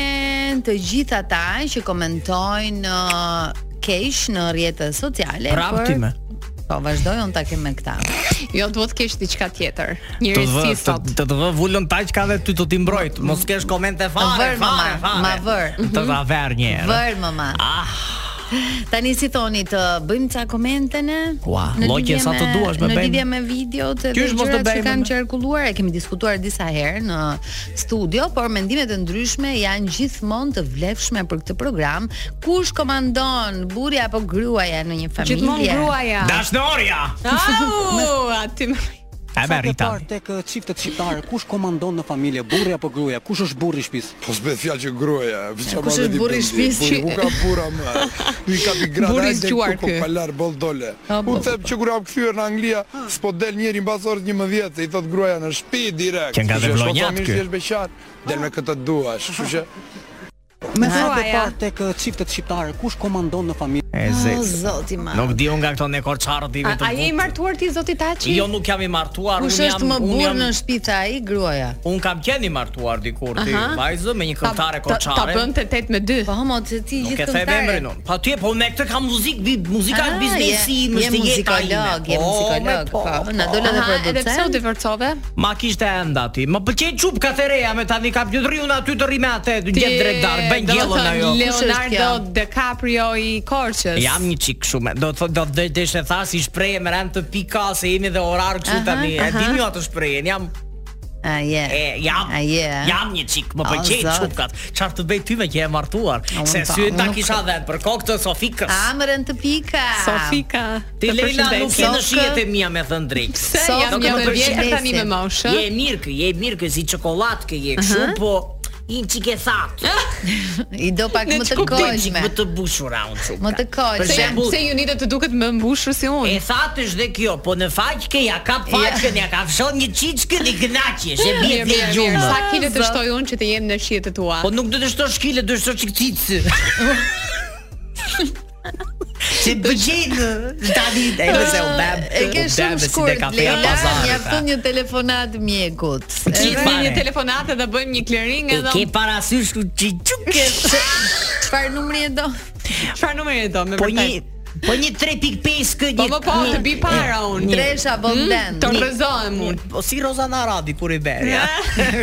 [SPEAKER 7] të gjithë ata që komentojnë uh, kesh në rrjetet sociale.
[SPEAKER 9] Prap ti me.
[SPEAKER 7] Po, vazhdoj unë ta kem me këta.
[SPEAKER 8] Jo, duhet të kesh diçka tjetër.
[SPEAKER 9] Të
[SPEAKER 8] Njëri
[SPEAKER 9] vë,
[SPEAKER 8] si
[SPEAKER 9] të,
[SPEAKER 8] sot.
[SPEAKER 9] të të vë vullën taq ka dhe ty të ti mbrojt. Mos kesh komente fare,
[SPEAKER 7] Mm. vër,
[SPEAKER 9] fare,
[SPEAKER 7] mama,
[SPEAKER 9] fare.
[SPEAKER 7] ma vër. Mhm.
[SPEAKER 9] Të ta ver një herë.
[SPEAKER 7] Vër mama.
[SPEAKER 9] Ah.
[SPEAKER 7] Tani si thoni të bëjmë ca komente ne?
[SPEAKER 9] Ua,
[SPEAKER 7] Në
[SPEAKER 9] lloqe,
[SPEAKER 7] lidhje
[SPEAKER 9] sa të duash me
[SPEAKER 7] Në
[SPEAKER 9] bëjmë.
[SPEAKER 7] lidhje me videot e
[SPEAKER 9] Qysh mos
[SPEAKER 7] gjërat
[SPEAKER 9] të
[SPEAKER 7] që
[SPEAKER 9] bëjmë,
[SPEAKER 7] kanë
[SPEAKER 9] me?
[SPEAKER 7] qarkulluar, e kemi diskutuar disa herë në studio, por mendimet e ndryshme janë gjithmonë të vlefshme për këtë program. Kush komandon, burri apo gruaja në një familje?
[SPEAKER 8] Gjithmonë gruaja.
[SPEAKER 9] Dashnorja.
[SPEAKER 8] Au, aty më.
[SPEAKER 9] E me Rita.
[SPEAKER 4] parë tek eh, çiftet shqiptare, kush komandon në familje, burri apo gruaja? Kush është burri i shtëpisë?
[SPEAKER 10] Po s'bëhet fjalë që gruaja, veçam
[SPEAKER 7] kush është burri i shtëpisë që-
[SPEAKER 10] Ku ka burra më? Ku ka bigrada
[SPEAKER 8] Burri i
[SPEAKER 10] ajde
[SPEAKER 8] zgjuar
[SPEAKER 10] ku po
[SPEAKER 8] ky.
[SPEAKER 10] palar boll dole.
[SPEAKER 7] A, po,
[SPEAKER 10] Unë them që kur jam kthyer në Angli, s'po del njëri mbas orës 11, i thot gruaja në shtëpi direkt.
[SPEAKER 9] Që nga
[SPEAKER 10] Kështu
[SPEAKER 9] dhe
[SPEAKER 10] shko
[SPEAKER 9] vlonjat
[SPEAKER 10] familje
[SPEAKER 9] ky.
[SPEAKER 10] si është beqar, del me këtë duash. Kështu që
[SPEAKER 4] Me sa të
[SPEAKER 8] gruaja.
[SPEAKER 4] parë tek eh, çiftet shqiptare, kush komandon në familje?
[SPEAKER 9] E
[SPEAKER 7] O
[SPEAKER 9] zez.
[SPEAKER 7] zoti ma.
[SPEAKER 9] Nuk di unë nga këto ne korçarët i
[SPEAKER 8] A,
[SPEAKER 9] vetëm.
[SPEAKER 8] a je i
[SPEAKER 9] but.
[SPEAKER 8] martuar ti zoti Taçi?
[SPEAKER 9] Jo nuk jam i martuar,
[SPEAKER 7] Kush
[SPEAKER 9] unë jam
[SPEAKER 7] është më
[SPEAKER 9] unë
[SPEAKER 7] burr
[SPEAKER 9] jam-
[SPEAKER 7] në shtëpi tha ai gruaja?
[SPEAKER 9] Unë kam qenë i martuar dikur ti,
[SPEAKER 8] Aha.
[SPEAKER 9] vajzë me një
[SPEAKER 8] Ta-
[SPEAKER 9] këngëtare
[SPEAKER 8] ta- Ta
[SPEAKER 9] korçare.
[SPEAKER 8] bën të 8 me 2.
[SPEAKER 7] Po homo se ti
[SPEAKER 9] Nuk e
[SPEAKER 7] gjithë
[SPEAKER 9] the
[SPEAKER 7] këngëtare.
[SPEAKER 9] emrin unë. Po ti po unë këtë kam muzikë, bi- muzika
[SPEAKER 7] Ah,
[SPEAKER 9] është biznesi,
[SPEAKER 7] je-
[SPEAKER 9] mos
[SPEAKER 7] je
[SPEAKER 9] të jeta ime.
[SPEAKER 7] muzikolog, je
[SPEAKER 9] Po, me
[SPEAKER 7] muzikolog,
[SPEAKER 9] po,
[SPEAKER 7] po, na
[SPEAKER 9] po.
[SPEAKER 7] dole edhe
[SPEAKER 8] Aha, edhe pse u
[SPEAKER 7] producent.
[SPEAKER 8] divorcove?
[SPEAKER 9] Ma kishte enda ti. Më pëlqej çup kathereja me tani kap një driun aty të rime atë, të gjet drejt dark, bën
[SPEAKER 8] Do të
[SPEAKER 9] gjellën
[SPEAKER 8] thënë
[SPEAKER 9] ajo.
[SPEAKER 7] Kush është
[SPEAKER 8] Leonardo
[SPEAKER 7] kjo?
[SPEAKER 8] DiCaprio i Korçës.
[SPEAKER 9] Jam një çik shumë. Do të do të deshe tha si shprehje me rand të pika se jemi dhe orar kështu
[SPEAKER 7] Aha,
[SPEAKER 9] tani. E
[SPEAKER 7] aha.
[SPEAKER 9] dini ju atë shprehjen. Jam
[SPEAKER 7] A Ah, je.
[SPEAKER 9] e jam.
[SPEAKER 7] A je.
[SPEAKER 9] Jam një çik, më
[SPEAKER 7] O,
[SPEAKER 9] pëlqej
[SPEAKER 7] zot.
[SPEAKER 9] çupkat. Çfarë të bëj ty me që je martuar?
[SPEAKER 7] unë
[SPEAKER 9] Se
[SPEAKER 7] pa,
[SPEAKER 9] sy
[SPEAKER 7] unë
[SPEAKER 9] ta
[SPEAKER 7] nuk- po.
[SPEAKER 9] kisha dhënë për kokë të Sofikës.
[SPEAKER 7] Amrën të pika.
[SPEAKER 8] Sofika.
[SPEAKER 9] Ti
[SPEAKER 8] të
[SPEAKER 9] Leila
[SPEAKER 8] përshëndes.
[SPEAKER 9] nuk je në
[SPEAKER 7] Sofkë.
[SPEAKER 9] shijet e mia me thënë drejt.
[SPEAKER 8] Pse
[SPEAKER 7] Sofka,
[SPEAKER 8] jam
[SPEAKER 9] do
[SPEAKER 8] jam
[SPEAKER 9] të
[SPEAKER 8] e vjetër tani me
[SPEAKER 7] përshëndesim.
[SPEAKER 8] moshë?
[SPEAKER 9] Je mirë kë, je mirë kë si çokoladë kë je kështu, po i një çik e thatë.
[SPEAKER 7] I do pak
[SPEAKER 8] Ne
[SPEAKER 7] më të
[SPEAKER 8] ç'ku
[SPEAKER 9] Kuptoj çik
[SPEAKER 7] kojshme.
[SPEAKER 9] më të bushura unë çupka.
[SPEAKER 7] Më të kojshme.
[SPEAKER 9] Për
[SPEAKER 8] Pse jam
[SPEAKER 9] shembull,
[SPEAKER 8] pse ju nitë të duket më mbushur si
[SPEAKER 9] E
[SPEAKER 8] unë?
[SPEAKER 9] thatë është dhe kjo, po në faqke ja kap faqken, ja ka fshon një qiçkën i gnaqesh, e
[SPEAKER 8] Mirë,
[SPEAKER 9] bie dhe
[SPEAKER 8] mirë, mirë.
[SPEAKER 9] gjumë.
[SPEAKER 8] Sa kile të shtoj unë që të jem në shijet e tua?
[SPEAKER 9] Po nuk do të shtosh kile, do të shtosh çik cicë. Se bëgjin Tani e më jo se u bëm
[SPEAKER 7] E ke shumë shkurt Leila, mjafton një telefonat mjekut.
[SPEAKER 9] Ti
[SPEAKER 8] Kemi
[SPEAKER 9] fare.
[SPEAKER 8] një telefonatë dhe bëjmë një clearing edhe
[SPEAKER 9] Ke parasysh ku çiçuke
[SPEAKER 7] Çfarë numri e do?
[SPEAKER 8] çfarë numeri do me
[SPEAKER 9] Po një
[SPEAKER 8] vërtet?
[SPEAKER 9] Po një 3.5 kë
[SPEAKER 8] Po
[SPEAKER 9] një
[SPEAKER 8] më po të bi para unë.
[SPEAKER 7] Tresha po Bogdan.
[SPEAKER 8] Të rrezohem unë.
[SPEAKER 9] Po si Roza Naradi kur i berja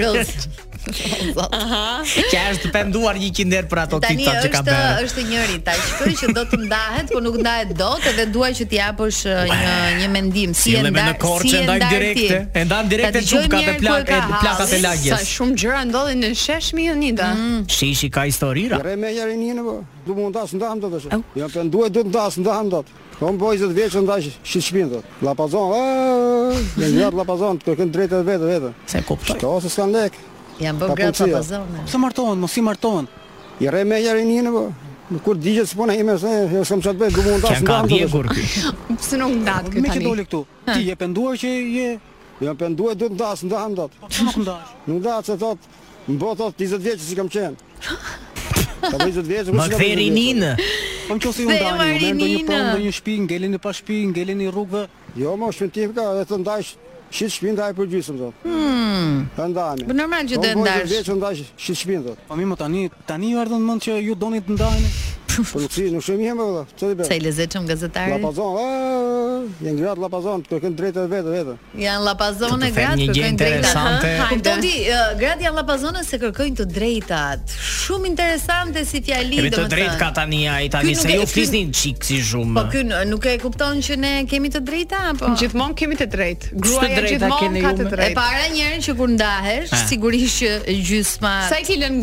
[SPEAKER 7] Ros.
[SPEAKER 9] Që është penduar një kinder për ato
[SPEAKER 7] Tani
[SPEAKER 9] kitat Po që ka
[SPEAKER 7] është
[SPEAKER 9] berë
[SPEAKER 7] është njëri tashkë që do të ndahet, por nuk ndahet dot edhe dua që t'i japësh uh, një një mendim si e
[SPEAKER 9] Sillemi
[SPEAKER 7] ndar
[SPEAKER 9] në korçë,
[SPEAKER 7] si e
[SPEAKER 9] ndajmë
[SPEAKER 7] ndar
[SPEAKER 9] direkte,
[SPEAKER 7] ti.
[SPEAKER 9] e ndan direkte
[SPEAKER 7] Ta dëgjojmë
[SPEAKER 9] çupkat e
[SPEAKER 7] njerë ku
[SPEAKER 9] plak-
[SPEAKER 7] ka
[SPEAKER 9] e plakat e
[SPEAKER 7] halli.
[SPEAKER 9] lagjes.
[SPEAKER 8] Sa shumë gjëra ndodhin në sheshmi Unida.
[SPEAKER 9] Shishi ka historira
[SPEAKER 4] Re me jeri një në po, du mund ndash ndahëm të të Ja për duhet du ndash ndahëm të të Kom po 20 vjeqë ndash shqit shpinë të Lapazon, e, në gjatë lapazon, të kërkën drejtet vetë vetë
[SPEAKER 9] Se kuptoj
[SPEAKER 4] Shto se s'kan lek
[SPEAKER 7] Janë bërë gratë
[SPEAKER 4] Papucia.
[SPEAKER 7] papazone.
[SPEAKER 4] Pse martohen, mos i martohen I re me jeri një në po Kur digjet s'po na ime se jo s'kam çat bëj, du mund
[SPEAKER 9] Që
[SPEAKER 4] ndash
[SPEAKER 9] ka
[SPEAKER 4] ndahëm të të
[SPEAKER 9] djegur ky
[SPEAKER 8] Pse nuk ndat ky
[SPEAKER 4] Me që
[SPEAKER 8] tani?
[SPEAKER 4] doli këtu, ti je penduar që je Ja Jo, penduar duhet ndash ndahëm të të
[SPEAKER 11] Nuk ndash.
[SPEAKER 4] Nuk da që thot, më bo thot 20 vjeqë si kam qenë Ka 20 vjeç,
[SPEAKER 9] Më kthej rinin.
[SPEAKER 11] Po nëse ju
[SPEAKER 7] Dhe
[SPEAKER 11] ndani, më merr ndonjë
[SPEAKER 7] Marinina.
[SPEAKER 8] po-
[SPEAKER 11] pronë, ndonjë shtëpi, ngeleni pa shtëpi, ngeleni rrugëve.
[SPEAKER 4] Jo, më shpin tim ka, edhe të ndash shit shpin ndaj për gjysmë thot. Hmm. Ka ndani.
[SPEAKER 7] Po normal që do e
[SPEAKER 4] Po 20
[SPEAKER 7] ndash.
[SPEAKER 4] vjeç u ndash shit shpin thot.
[SPEAKER 11] Po mi më tani, tani ju erdhën në mend që ju doni të ndajeni.
[SPEAKER 4] Po nuk si, nuk shemi më valla. Çfarë
[SPEAKER 7] Sa
[SPEAKER 4] bëj?
[SPEAKER 7] i lezetshëm gazetari.
[SPEAKER 4] Lapazon, ë, janë gratë lapazon, kërkën drejtë vetë vetë.
[SPEAKER 7] Janë lapazone
[SPEAKER 9] Të them
[SPEAKER 7] gratë
[SPEAKER 9] një gjë
[SPEAKER 7] kërkojnë drejtat.
[SPEAKER 9] interesante.
[SPEAKER 7] Kupton ti, ë, uh, gratë janë lapazone se kërkojnë të drejtat. Shumë interesante si
[SPEAKER 9] E
[SPEAKER 7] fjali,
[SPEAKER 9] me të
[SPEAKER 7] domethënë.
[SPEAKER 9] drejtë ka tani ai tani
[SPEAKER 7] Ky nuk
[SPEAKER 9] se
[SPEAKER 7] e-
[SPEAKER 9] ju
[SPEAKER 7] ky-
[SPEAKER 9] flisni çik si
[SPEAKER 7] Po
[SPEAKER 9] zhumë.
[SPEAKER 7] ky n- nuk e kupton që ne kemi të drejta apo?
[SPEAKER 8] Gjithmonë kemi të drejtë.
[SPEAKER 9] Ç'të
[SPEAKER 8] Gruaja
[SPEAKER 9] drejta keni
[SPEAKER 8] gjithmonë ka të
[SPEAKER 9] ju, me?
[SPEAKER 7] E
[SPEAKER 8] drejtë.
[SPEAKER 7] para njërin që kur ndahesh,
[SPEAKER 9] Ah.
[SPEAKER 7] sigurisht që gjysma
[SPEAKER 8] Sa i kilën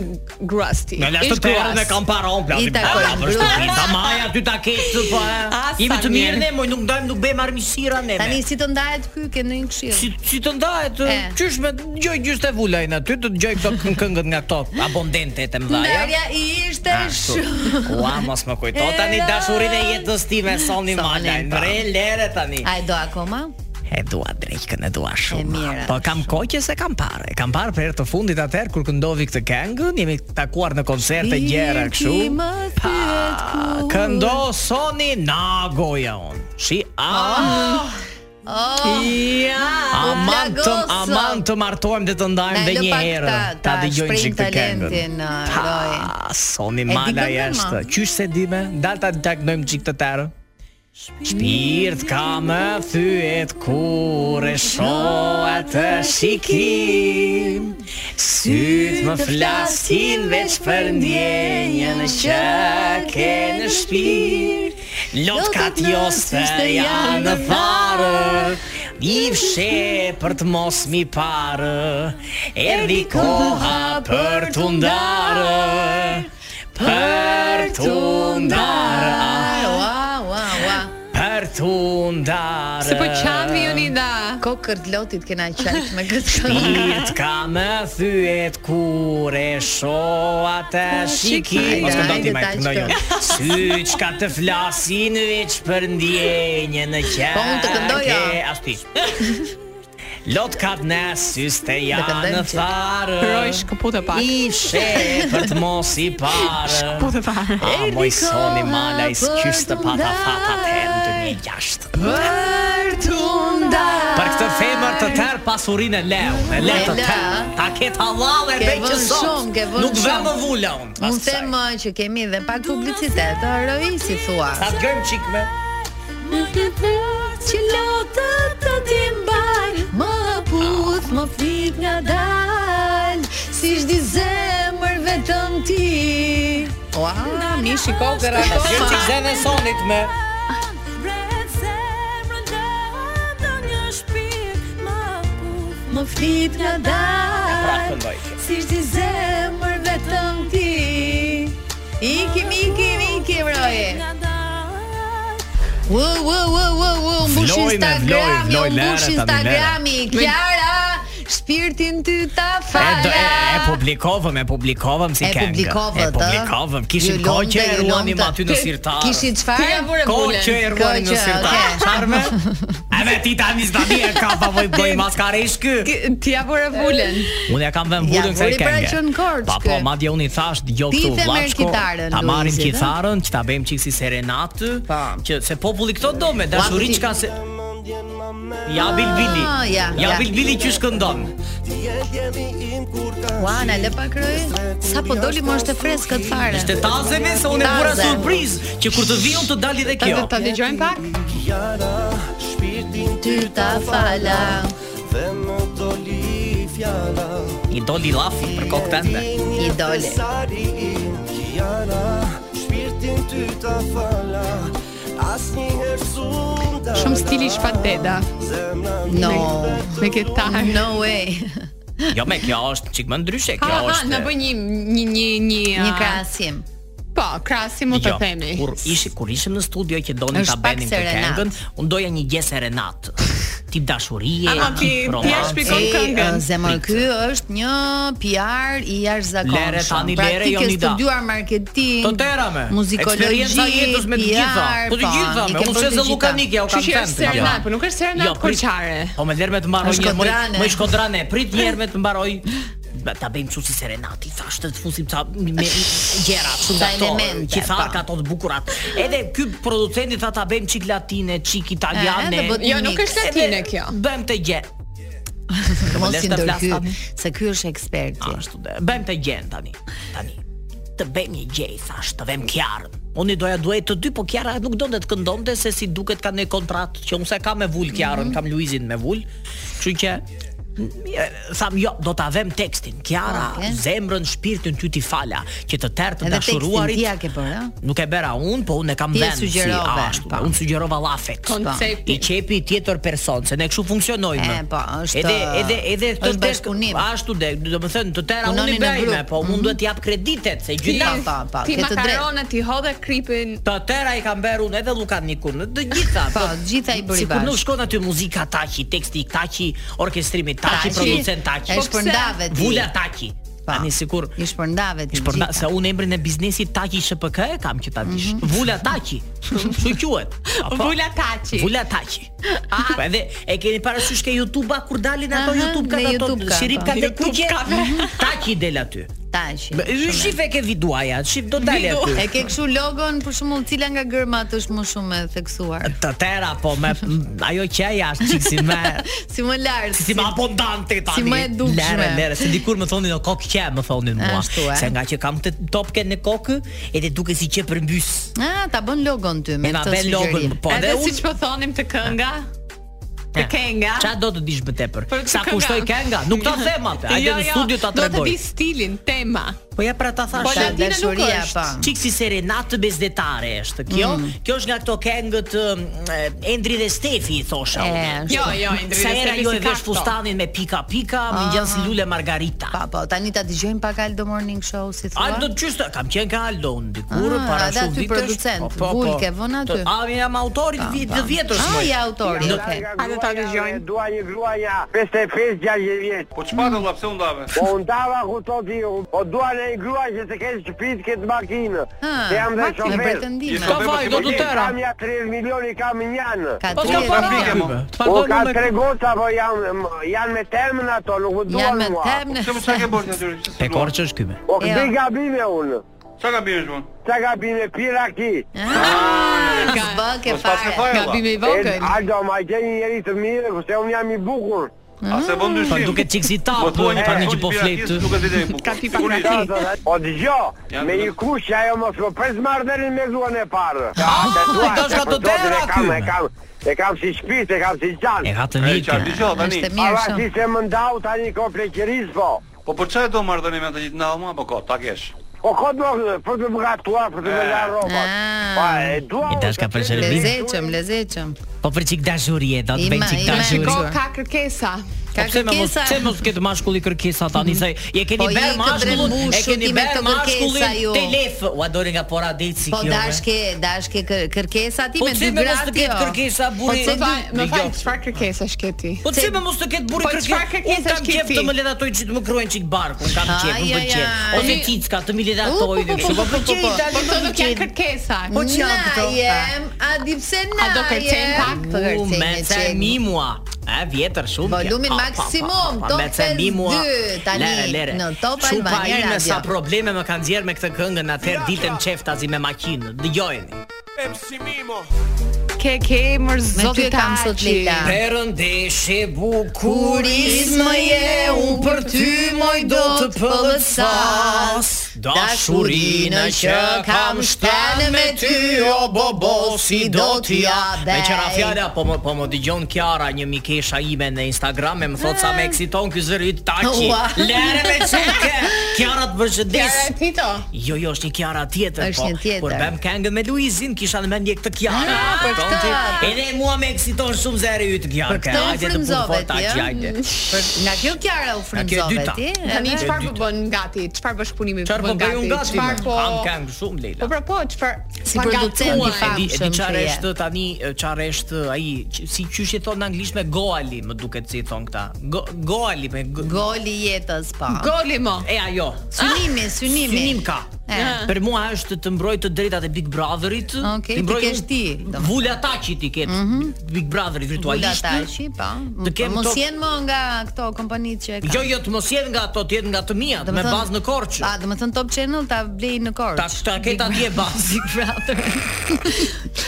[SPEAKER 8] gruas ti?
[SPEAKER 9] Në lashtë
[SPEAKER 8] Ish
[SPEAKER 9] të erën
[SPEAKER 8] gruas.
[SPEAKER 9] e kam para on
[SPEAKER 7] I
[SPEAKER 9] plati.
[SPEAKER 7] takoj.
[SPEAKER 9] Pa, për shtëpi, ta maja ty ta kesh po. e.
[SPEAKER 8] Asa
[SPEAKER 9] Jemi të mirë
[SPEAKER 8] mirë.
[SPEAKER 9] ne, moj nuk ndajmë, nuk bëjmë armiqësira ne.
[SPEAKER 7] tani si të ndahet ky ke ndonjë këshill?
[SPEAKER 9] Si si të ndahet?
[SPEAKER 7] E.
[SPEAKER 9] Qysh me dëgjoj gjysmë e vulajn aty, të dëgjoj këto kën- këngët nga këto abondente të Ah, mëdha.
[SPEAKER 7] Ndarja i ishte shumë.
[SPEAKER 9] Ua, mos më kujto tani
[SPEAKER 7] E,
[SPEAKER 9] dashurin e jetës time
[SPEAKER 7] Soni,
[SPEAKER 9] soni malaj.
[SPEAKER 7] po.
[SPEAKER 9] Re lere tani.
[SPEAKER 7] A e do akoma?
[SPEAKER 9] E dua drejkën, e dua shumë.
[SPEAKER 7] E mirë.
[SPEAKER 9] Po kam kohë që se kam parë. E Kam parë për herë të fundit atëherë kur këndovi këtë këngën, jemi takuar në koncerte
[SPEAKER 7] Ti
[SPEAKER 9] gjëra kështu.
[SPEAKER 7] ti më pyet kur.
[SPEAKER 9] këndo soni na goja on. Shi a
[SPEAKER 7] Oh,
[SPEAKER 9] ja,
[SPEAKER 7] u
[SPEAKER 9] aman të
[SPEAKER 7] plagoso.
[SPEAKER 9] aman të martohem dhe të ndajmë
[SPEAKER 7] Ndajlo
[SPEAKER 9] edhe një
[SPEAKER 7] pak
[SPEAKER 9] herë.
[SPEAKER 7] ta-
[SPEAKER 9] Ta
[SPEAKER 7] ta
[SPEAKER 9] dëgjojnë
[SPEAKER 7] shprehim
[SPEAKER 9] çik këtë
[SPEAKER 7] talentin,
[SPEAKER 9] këngën.
[SPEAKER 7] uh,
[SPEAKER 9] Ta,
[SPEAKER 7] Loj. di
[SPEAKER 9] Soni mala
[SPEAKER 7] këngën, ma?
[SPEAKER 9] jashtë. Qysh se dime, dal ta taknojmë çik të tërë. Shpirt ka më thyet kur e shoh atë shikim Syt më flasin veç për ndjenjën që ke në shpirt Lotkat joste janë në farë I fshe për të mos mi parë Erdi koha për të ndarë Për të ndarë Ah,
[SPEAKER 7] Ua, ua, ua.
[SPEAKER 9] Për të ndarë
[SPEAKER 8] Se po qami ju një da.
[SPEAKER 7] Kokërt lotit kena qajt me këtë këngë.
[SPEAKER 9] Shpirt ka më thyet kur e shoh atë shikim
[SPEAKER 7] Mos këndon ti,
[SPEAKER 9] Mike,
[SPEAKER 7] Mike, këndon jon.
[SPEAKER 9] Syç ka të flasin veç për ndjenjën e qenë
[SPEAKER 7] Po, unë të këndoja.
[SPEAKER 9] Ashti Lot ka të në sys të janë
[SPEAKER 7] këndojmë
[SPEAKER 9] në
[SPEAKER 7] që-
[SPEAKER 9] tharë
[SPEAKER 8] Roj shkëpute pak.
[SPEAKER 9] I she për të mos i parë
[SPEAKER 8] Shkëpute pak.
[SPEAKER 9] A moj soni
[SPEAKER 7] koha
[SPEAKER 9] mala i s'kysë të
[SPEAKER 7] për
[SPEAKER 9] pata
[SPEAKER 7] t'ndaj.
[SPEAKER 9] fatat e në 2006
[SPEAKER 7] Për të ndarë.
[SPEAKER 9] Për këtë femër të tërë pasurin e leu E le të
[SPEAKER 7] E la.
[SPEAKER 9] tërë Ta ketë halal e
[SPEAKER 7] Ke
[SPEAKER 9] bej që
[SPEAKER 7] vënë
[SPEAKER 9] sot
[SPEAKER 7] shumë, ke vënë
[SPEAKER 9] Nuk vë
[SPEAKER 7] shumë.
[SPEAKER 9] më vula unë pas
[SPEAKER 7] Unë them
[SPEAKER 9] kësaj.
[SPEAKER 7] uh, që kemi edhe pak publicitet, uh, Roi, si thua.
[SPEAKER 9] Ta të gëjmë qik me
[SPEAKER 7] Që lotët të ti mbaj Më puth, më flit nga dal Si shdi zemër vetëm ti Ua, mi shiko kërra
[SPEAKER 9] Ta të gëjmë qik zene sonit me
[SPEAKER 7] Më flit nga
[SPEAKER 9] E pra
[SPEAKER 7] dal
[SPEAKER 9] këndoj kjo.
[SPEAKER 7] Si shdi zemër vetëm ti Ikim, ikim, ikim, roje Wo wo wo wo wo mbush
[SPEAKER 9] Vloj me,
[SPEAKER 7] Instagrami,
[SPEAKER 9] vloj, vloj,
[SPEAKER 7] mbush
[SPEAKER 9] Lera, tani,
[SPEAKER 7] Instagrami, Kiara, shpirtin ty ta
[SPEAKER 9] E, do,
[SPEAKER 7] fala.
[SPEAKER 9] e, e publikovëm, e publikovëm si
[SPEAKER 7] E
[SPEAKER 9] këngë
[SPEAKER 7] publikovët,
[SPEAKER 9] E publikovëm, kishin
[SPEAKER 7] Ju
[SPEAKER 9] kohë
[SPEAKER 7] lomte,
[SPEAKER 9] që e
[SPEAKER 7] ju
[SPEAKER 9] ruanim
[SPEAKER 7] lomte.
[SPEAKER 9] aty në sirtarë
[SPEAKER 7] Kishin çfarë?
[SPEAKER 9] Kohë që e ruanim
[SPEAKER 7] Kohë
[SPEAKER 9] në
[SPEAKER 7] që,
[SPEAKER 9] sirtarë
[SPEAKER 7] okay.
[SPEAKER 9] Qarme E me ti tani zdani e ka pa voj bëj maskare ish ky
[SPEAKER 8] Ti ja vore vulën.
[SPEAKER 9] Unë ja kam vënë
[SPEAKER 7] Ja,
[SPEAKER 9] vullën kësaj
[SPEAKER 7] vuri pra
[SPEAKER 9] këngë.
[SPEAKER 7] që në korç,
[SPEAKER 9] Pa po,
[SPEAKER 7] ky.
[SPEAKER 9] madje unë i thash dëgjoj
[SPEAKER 7] Ti
[SPEAKER 9] këtu
[SPEAKER 7] the merr
[SPEAKER 9] vllazko.
[SPEAKER 7] kitarën,
[SPEAKER 9] Ta marrim
[SPEAKER 7] Luizi,
[SPEAKER 9] kitarën, që ta bëjmë çik si serenatë,
[SPEAKER 7] Pa.
[SPEAKER 9] që se populli këto do me dashuri
[SPEAKER 7] ti-
[SPEAKER 9] çka se Ja Bilbili.
[SPEAKER 7] Ah, ja,
[SPEAKER 9] ja
[SPEAKER 7] ja.
[SPEAKER 9] Bilbili që shkëndon.
[SPEAKER 7] Ua, na lë pak roj. Sa po doli më është e freskët fare.
[SPEAKER 9] Ishte tazeme se unë e vura
[SPEAKER 7] Taze.
[SPEAKER 9] surprizë që kur të vi unë të dali dhe
[SPEAKER 8] Ta
[SPEAKER 9] kjo.
[SPEAKER 8] ta dëgjojmë pak?
[SPEAKER 7] Ty ta fala.
[SPEAKER 9] I doli laf për kokë tënde.
[SPEAKER 7] I doli.
[SPEAKER 8] Shumë stili shpat deda
[SPEAKER 7] No.
[SPEAKER 8] me gitarë.
[SPEAKER 7] No way.
[SPEAKER 9] Jo me kjo është çik më ndryshe,
[SPEAKER 8] Ha,
[SPEAKER 9] kjo
[SPEAKER 8] ha,
[SPEAKER 9] është.
[SPEAKER 8] na bë një një një një
[SPEAKER 7] Një
[SPEAKER 8] a,
[SPEAKER 7] krahasim.
[SPEAKER 8] Po, krahasim më të
[SPEAKER 9] Dgjoj,
[SPEAKER 8] themi.
[SPEAKER 9] Jo, Kur ishi kur ishim në studio që donim ta
[SPEAKER 7] Është pak
[SPEAKER 9] bënim të
[SPEAKER 7] serenat.
[SPEAKER 9] këngën, unë doja një gjë serenat. Tip dashurie,
[SPEAKER 8] Ama ti ti ja
[SPEAKER 9] romans.
[SPEAKER 8] shpjegon
[SPEAKER 7] E,
[SPEAKER 8] këngën.
[SPEAKER 7] ë, Zemër ky është një PR i jashtëzakonshëm.
[SPEAKER 9] Lere, tani,
[SPEAKER 7] pra,
[SPEAKER 9] lere,
[SPEAKER 7] ti ke
[SPEAKER 9] Jonida.
[SPEAKER 7] studiuar marketing.
[SPEAKER 9] Të tëra me.
[SPEAKER 7] Muzikologji.
[SPEAKER 9] Eksperienca e jetës me të gjitha.
[SPEAKER 7] PR,
[SPEAKER 9] Po të gjitha
[SPEAKER 7] i
[SPEAKER 9] me.
[SPEAKER 7] ke
[SPEAKER 9] Unë
[SPEAKER 7] bërë
[SPEAKER 9] se
[SPEAKER 7] të gjitha.
[SPEAKER 9] Lukanik ja u
[SPEAKER 8] Kështu
[SPEAKER 9] kam
[SPEAKER 8] që
[SPEAKER 9] thënë.
[SPEAKER 8] është serenat, po nuk është serenat
[SPEAKER 9] prit-
[SPEAKER 8] korçare.
[SPEAKER 9] Po më lërë me të mbaroj
[SPEAKER 7] Është
[SPEAKER 9] një më
[SPEAKER 7] kodrane.
[SPEAKER 9] më shkodrane. Prit një herë me të mbaroj ba- ta bëjmë çu si serenati, thashë të fusim ca me me- gjëra kështu
[SPEAKER 7] Ca
[SPEAKER 9] nga ato,
[SPEAKER 7] elemente,
[SPEAKER 9] që tha
[SPEAKER 7] po.
[SPEAKER 9] ka ato të bukurat. Edhe ky producenti tha ta bëjmë çik latine, çik italiane.
[SPEAKER 8] dhe bëti Jo, nuk mix. është latine
[SPEAKER 9] Edhe
[SPEAKER 8] kjo.
[SPEAKER 9] Bëjmë të gjë.
[SPEAKER 7] Mos
[SPEAKER 9] Lesh
[SPEAKER 7] i
[SPEAKER 9] të Ah, flas
[SPEAKER 7] ndërhyj,
[SPEAKER 9] tani.
[SPEAKER 7] se ky është eksperti.
[SPEAKER 9] Ashtu dhe. Bëjmë të gjen tani. Tani. Të bëjmë një gjej, thash, të vëmë Kiarën. Unë i doja duhet të dy, po Kiara nuk donte të këndonte se si duket ka në kontratë që unë se kam me vul Kiarën,
[SPEAKER 7] Mhm.
[SPEAKER 9] kam Luizin me vul. Kështu që e, tham jo, do ta vëm tekstin. Kiara,
[SPEAKER 7] Okej.
[SPEAKER 9] zemrën, shpirtin ty ti fala, që të tertë të
[SPEAKER 7] Edhe tekstin
[SPEAKER 9] dashuruarit.
[SPEAKER 7] ti ja ke bërë, ëh?
[SPEAKER 9] Nuk e bëra unë, po unë e kam
[SPEAKER 7] Ti e Po,
[SPEAKER 9] vend si
[SPEAKER 7] sugjerove,
[SPEAKER 9] ashtu.
[SPEAKER 7] po.
[SPEAKER 9] Unë sugjerova llafet.
[SPEAKER 8] Konceptin.
[SPEAKER 9] I qepi tjetër person, se ne kështu funksionojmë.
[SPEAKER 7] E, po, është-
[SPEAKER 9] Edhe edhe edhe
[SPEAKER 7] është
[SPEAKER 9] tek-
[SPEAKER 7] bashkëpunim.
[SPEAKER 9] ashtu de, do të thënë, të tëra unë
[SPEAKER 7] Punoni
[SPEAKER 9] i
[SPEAKER 7] në
[SPEAKER 9] bëjmë,
[SPEAKER 7] grup. Mhm.
[SPEAKER 9] po unë duhet jap kreditet se gjyna
[SPEAKER 7] Po, po, po,
[SPEAKER 8] ti
[SPEAKER 7] ke të drejtë.
[SPEAKER 8] makarona, ti hodhe kripin.
[SPEAKER 9] Të tëra i kam bërë unë edhe Lukanikun, të gjitha.
[SPEAKER 7] Po,
[SPEAKER 9] të-
[SPEAKER 7] gjitha i bëri
[SPEAKER 9] Sikur nuk
[SPEAKER 7] bashkë.
[SPEAKER 9] shkon aty muzika taqi, teksti taqi, orkestrimi taqi,
[SPEAKER 7] Taqi,
[SPEAKER 9] producent taqi.
[SPEAKER 7] e
[SPEAKER 8] Po
[SPEAKER 7] shpërndave ti. Jo,
[SPEAKER 9] Vula taqi. Tani sikur
[SPEAKER 7] i shpërndave ti.
[SPEAKER 9] Por na,
[SPEAKER 7] gjitha.
[SPEAKER 9] se unë emrin e biznesit Taki SHPK e kam që ta dish.
[SPEAKER 7] Mhm.
[SPEAKER 9] Vula Taki. Çu quhet? Apo?
[SPEAKER 8] Vula Taqi.
[SPEAKER 9] Vula Taki. Po edhe e keni parasysh ke YouTube-a kur dalin ato
[SPEAKER 7] Aha,
[SPEAKER 9] YouTube kanë
[SPEAKER 7] me
[SPEAKER 9] ato
[SPEAKER 7] YouTube ka,
[SPEAKER 9] shirip
[SPEAKER 7] po.
[SPEAKER 9] ka të
[SPEAKER 8] YouTube
[SPEAKER 9] kuqe.
[SPEAKER 8] ka.
[SPEAKER 9] Taki del aty.
[SPEAKER 7] Taqi.
[SPEAKER 9] Be-
[SPEAKER 7] shumë
[SPEAKER 9] Shif e ke viduaja, shif do dalë
[SPEAKER 8] Vidu.
[SPEAKER 9] aty.
[SPEAKER 7] E ke kështu logon për shembull cila nga gërmat është më shumë e theksuar.
[SPEAKER 9] Të tëra po me ajo që ai jashtë çik si me
[SPEAKER 7] Si më lart.
[SPEAKER 9] si më abondante tani.
[SPEAKER 7] Si më e dukshme.
[SPEAKER 9] Lere, lere, se dikur më thonin o kokë qe, më thonin mua.
[SPEAKER 7] Ashtu, e.
[SPEAKER 9] Se nga që kam të topke në kokë, edhe duket si qe përmbys.
[SPEAKER 7] Ah, ta bën logon ty me
[SPEAKER 9] E na
[SPEAKER 7] këtë
[SPEAKER 9] bën logon,
[SPEAKER 7] sugjerim.
[SPEAKER 9] po
[SPEAKER 8] Edhe
[SPEAKER 9] edhe unë
[SPEAKER 8] siç po thonim të kënga, të kenga.
[SPEAKER 9] Eh, Qa do të dish më tepër?
[SPEAKER 8] Për të
[SPEAKER 9] Sa
[SPEAKER 8] kënga.
[SPEAKER 9] kushtoj kenga? Nuk ta them atë. Hajde
[SPEAKER 8] Jo,
[SPEAKER 9] në
[SPEAKER 8] jo,
[SPEAKER 9] studio ta
[SPEAKER 8] Do të
[SPEAKER 9] tregoj.
[SPEAKER 8] di stilin, tema.
[SPEAKER 9] Po ja pra ta
[SPEAKER 8] Po
[SPEAKER 9] thash.
[SPEAKER 7] Ta
[SPEAKER 8] la- Latina nuk
[SPEAKER 7] dashuria
[SPEAKER 8] është.
[SPEAKER 7] pa.
[SPEAKER 9] Çik si serenatë bezdetare është. Kjo, kjo është nga ato këngët ëm, e, eh, Endri dhe Stefi i thosha.
[SPEAKER 7] E,
[SPEAKER 9] unë.
[SPEAKER 7] është.
[SPEAKER 8] Jo, jo, Indri.
[SPEAKER 9] Sa era jo e vesh
[SPEAKER 8] vesh
[SPEAKER 9] fustanin me pika pika, më ngjan si lule margarita.
[SPEAKER 7] Pa, po, tani ta dëgjojmë pak Aldo Morning Show si thua.
[SPEAKER 9] Aldo çështë, kam qenë ka Aldo unë dikur
[SPEAKER 7] Ah,
[SPEAKER 9] para
[SPEAKER 7] edhe
[SPEAKER 9] shumë
[SPEAKER 7] aty
[SPEAKER 9] vitesh. Po,
[SPEAKER 7] producent, Vulke, vënë aty.
[SPEAKER 9] Të- A jam autorit vi- të vjetësh.
[SPEAKER 7] Ah,
[SPEAKER 9] moj.
[SPEAKER 7] ja autori,
[SPEAKER 9] Do-
[SPEAKER 7] okay.
[SPEAKER 8] Hajde ta dëgjojmë.
[SPEAKER 3] Dua një gruaja 55 60 vjet.
[SPEAKER 5] Po çfarë valla pse u ndave?
[SPEAKER 3] Po undava ku to di, po dua një gruaj që të ketë shtëpi, të ketë makinë.
[SPEAKER 7] Ah,
[SPEAKER 3] Se jam dhe
[SPEAKER 7] me
[SPEAKER 3] shofer.
[SPEAKER 7] pretendime.
[SPEAKER 5] Ka vaj, do të tëra.
[SPEAKER 3] Kam ja 30 milioni kam një janë.
[SPEAKER 7] Ka
[SPEAKER 9] Po s'ka
[SPEAKER 7] tre
[SPEAKER 9] para
[SPEAKER 7] veta.
[SPEAKER 9] frikë, mo.
[SPEAKER 3] Po
[SPEAKER 9] Çfarë do
[SPEAKER 3] ka
[SPEAKER 9] me
[SPEAKER 3] tre goca, po janë janë me temën ato, nuk u duan
[SPEAKER 7] Janë me
[SPEAKER 3] mua.
[SPEAKER 7] temne.
[SPEAKER 5] Pse mos sa ke bërë aty? Pse s'e
[SPEAKER 9] Pekor ç'është ky me?
[SPEAKER 3] Po këtë
[SPEAKER 7] Jo.
[SPEAKER 3] gabime unë.
[SPEAKER 5] luan? Çka ka bërë shkon?
[SPEAKER 3] Çka gabime pira ki.
[SPEAKER 7] Ah, s'bë ke
[SPEAKER 5] Po s'pas ke
[SPEAKER 7] fare.
[SPEAKER 5] fare.
[SPEAKER 8] Gabime i
[SPEAKER 3] E,
[SPEAKER 8] vogël.
[SPEAKER 3] Aldo, ma gjeni një njeri të mirë, kurse unë jam i bukur.
[SPEAKER 5] A se bën
[SPEAKER 9] Po
[SPEAKER 5] dyshim?
[SPEAKER 9] duket çik si
[SPEAKER 5] Po
[SPEAKER 9] tap,
[SPEAKER 5] thua një
[SPEAKER 9] tani
[SPEAKER 5] person
[SPEAKER 9] që po
[SPEAKER 5] që
[SPEAKER 9] flet.
[SPEAKER 5] piratist Nuk e di bukur.
[SPEAKER 8] Ka tipa
[SPEAKER 5] Kur i-
[SPEAKER 8] krati.
[SPEAKER 3] Po dëgjo,
[SPEAKER 5] Janë
[SPEAKER 3] me
[SPEAKER 5] të-
[SPEAKER 3] një kush që ajo mos më pres marrëdhënien me gruan e parë. Po,
[SPEAKER 9] Ah, do shka të tera
[SPEAKER 3] e kam,
[SPEAKER 9] ky.
[SPEAKER 3] e kam, e kam si shtëpi, e kam si
[SPEAKER 9] E
[SPEAKER 3] xhan.
[SPEAKER 9] ka të
[SPEAKER 5] E
[SPEAKER 9] një
[SPEAKER 5] çfarë
[SPEAKER 3] Po,
[SPEAKER 5] dëgjoj tani?
[SPEAKER 7] Është e mirë
[SPEAKER 3] Ava si
[SPEAKER 7] shumë.
[SPEAKER 3] se më ndau tani ko pleqëris po.
[SPEAKER 5] Po për çfarë do marrë tani me atë gjithë ndalma apo kot, ta kesh.
[SPEAKER 3] Po ko do për të më gatuar, për të më la robat.
[SPEAKER 7] Ah.
[SPEAKER 3] Po e dua.
[SPEAKER 9] I
[SPEAKER 3] unë
[SPEAKER 9] dash ka
[SPEAKER 3] të
[SPEAKER 9] për
[SPEAKER 3] të-
[SPEAKER 9] shërbim.
[SPEAKER 7] Lezeqëm, lezeqëm.
[SPEAKER 9] Po për çik dashurie, do të
[SPEAKER 7] Ima-
[SPEAKER 9] bëj çik
[SPEAKER 7] ima e
[SPEAKER 9] dashuri.
[SPEAKER 8] Ko
[SPEAKER 7] Sure.
[SPEAKER 8] ka kërkesa.
[SPEAKER 7] Ka
[SPEAKER 9] Po pse me mos
[SPEAKER 7] kërkesa.
[SPEAKER 9] pse mos ketë mashkulli kërkesa tani se je keni
[SPEAKER 7] Po je
[SPEAKER 9] bër
[SPEAKER 7] i
[SPEAKER 9] mashkullin, e
[SPEAKER 7] këndrembushu
[SPEAKER 9] keni
[SPEAKER 7] ti me
[SPEAKER 9] bër
[SPEAKER 7] këto
[SPEAKER 9] mashkullin
[SPEAKER 7] kërkesa ju.
[SPEAKER 9] telef, u adori nga pora ditë si
[SPEAKER 7] Po
[SPEAKER 9] kjo. be.
[SPEAKER 7] dash ke, dash ke kër- kërkesa ti
[SPEAKER 9] Po
[SPEAKER 7] me
[SPEAKER 9] pse
[SPEAKER 7] dy
[SPEAKER 9] me mos
[SPEAKER 7] gratë.
[SPEAKER 9] të ketë
[SPEAKER 7] jo?
[SPEAKER 9] kërkesa,
[SPEAKER 7] Po
[SPEAKER 9] burri?
[SPEAKER 7] pse
[SPEAKER 8] Më
[SPEAKER 7] dy
[SPEAKER 8] fal, më fal,
[SPEAKER 9] Dëgjoj.
[SPEAKER 8] çfarë kërkesash ke ti?
[SPEAKER 9] Po pse më mos të ketë burri
[SPEAKER 8] Po çfarë
[SPEAKER 9] kërkesa?
[SPEAKER 8] kërkesash
[SPEAKER 9] Unë kam
[SPEAKER 8] ke
[SPEAKER 9] qef
[SPEAKER 8] ti?
[SPEAKER 9] të më lë ato që të më kruajnë çik barkun, kam qef,
[SPEAKER 7] Aj,
[SPEAKER 9] më
[SPEAKER 7] aj,
[SPEAKER 9] pëlqen.
[SPEAKER 7] aj.
[SPEAKER 9] Ose
[SPEAKER 7] Ani-
[SPEAKER 9] cicka të më lë
[SPEAKER 7] U,
[SPEAKER 9] ato.
[SPEAKER 7] po, po, po,
[SPEAKER 9] Po
[SPEAKER 7] po,
[SPEAKER 9] po
[SPEAKER 7] po, po.
[SPEAKER 9] po.
[SPEAKER 8] Po këto nuk janë kërkesa.
[SPEAKER 7] Po që
[SPEAKER 8] janë
[SPEAKER 7] këto? jem, a di pse na
[SPEAKER 8] A do kërcen
[SPEAKER 7] jem?
[SPEAKER 8] pak?
[SPEAKER 7] Po
[SPEAKER 9] U,
[SPEAKER 7] kërcen
[SPEAKER 9] me
[SPEAKER 7] një
[SPEAKER 9] ce
[SPEAKER 7] qenë.
[SPEAKER 9] mi mua E vjetër shumë
[SPEAKER 7] Volumin
[SPEAKER 9] vjetër. Pa,
[SPEAKER 7] maksimum,
[SPEAKER 9] pa, pa, pa,
[SPEAKER 7] Top
[SPEAKER 9] me ce mi mua.
[SPEAKER 7] 52, tani, në Top
[SPEAKER 9] Shumë pa
[SPEAKER 7] Albania
[SPEAKER 9] ime
[SPEAKER 7] Radio.
[SPEAKER 9] sa probleme më kanë zjerë me këtë këngën Atëherë ditën qeftazi me makinë Dëgjojni
[SPEAKER 8] Ke ke mër
[SPEAKER 7] Me ty
[SPEAKER 8] zoti
[SPEAKER 7] e kam sot Lila.
[SPEAKER 9] Perëndeshe
[SPEAKER 7] Kurismë je unë për ty moj do të pëllët sas Dashurinë që kam shtenë me ty o bobo si do t'i ja
[SPEAKER 9] Me
[SPEAKER 7] bej
[SPEAKER 9] qëra fjala po më po më dëgjon Kiara një mikesha ime në Instagram e më thot sa më eksiton ky zërit
[SPEAKER 7] Ah.
[SPEAKER 9] taki.
[SPEAKER 7] Ua.
[SPEAKER 9] Lere me çuke. Kiara të bërshëdis.
[SPEAKER 8] Kjara Tito.
[SPEAKER 9] Jo, jo, është një Kiara tjetër, po,
[SPEAKER 7] Është një tjetër.
[SPEAKER 9] Kur bëm këngën me Luizin, kisha në mendje këtë Kiara.
[SPEAKER 7] Ah, për
[SPEAKER 9] kupton
[SPEAKER 7] këtë.
[SPEAKER 9] ti? Edhe mua më eksiton shumë zëri yt Kiara.
[SPEAKER 7] Për këtë jo? Mm. u frymzove ti,
[SPEAKER 9] ja.
[SPEAKER 7] ja? Për, nga kjo Kiara u frymzove
[SPEAKER 9] dyta.
[SPEAKER 7] ti?
[SPEAKER 8] Tani
[SPEAKER 7] edhe?
[SPEAKER 8] çfarë po bën gati? Çfarë bësh punimi
[SPEAKER 9] Çfarë po bëj unë gati?
[SPEAKER 8] Çfarë
[SPEAKER 9] më?
[SPEAKER 8] po?
[SPEAKER 9] Kam këngë shumë
[SPEAKER 8] Po
[SPEAKER 9] Leila.
[SPEAKER 8] pra po, çfarë?
[SPEAKER 7] Si
[SPEAKER 8] pa
[SPEAKER 7] producent
[SPEAKER 8] gatuar?
[SPEAKER 7] i
[SPEAKER 9] E di, e di
[SPEAKER 7] famshëm që
[SPEAKER 9] çfarë
[SPEAKER 7] je.
[SPEAKER 9] është tani, e, çfarë është ai, q- si qysh i thon në anglisht me goali, më duket si i thon këta. Go, goali me go,
[SPEAKER 7] Goli jetës po.
[SPEAKER 8] Goli mo.
[SPEAKER 9] E ajo.
[SPEAKER 7] Synimi, synimi.
[SPEAKER 9] Synim ka.
[SPEAKER 7] E.
[SPEAKER 9] Për mua është të mbroj të drejtat e Big Brotherit.
[SPEAKER 7] Okej,
[SPEAKER 9] të
[SPEAKER 7] ti
[SPEAKER 9] mbroj
[SPEAKER 7] kesh ti, domethënë. Mhm.
[SPEAKER 9] Vula Taçi ti ket. Big Brotheri
[SPEAKER 7] Vula
[SPEAKER 9] virtualisht.
[SPEAKER 7] Taçi, po.
[SPEAKER 9] Të kem
[SPEAKER 7] mos
[SPEAKER 9] to-
[SPEAKER 7] jenë më nga këto kompanitë që e kanë.
[SPEAKER 9] Jo, jo, të mos jenë nga ato, të jenë nga të mia, me
[SPEAKER 7] thënë-
[SPEAKER 9] bazë në Korçë.
[SPEAKER 7] A, do të thënë Top Channel ta blej në Korçë.
[SPEAKER 9] Ta ta ket atje bazë.
[SPEAKER 7] Big Brother.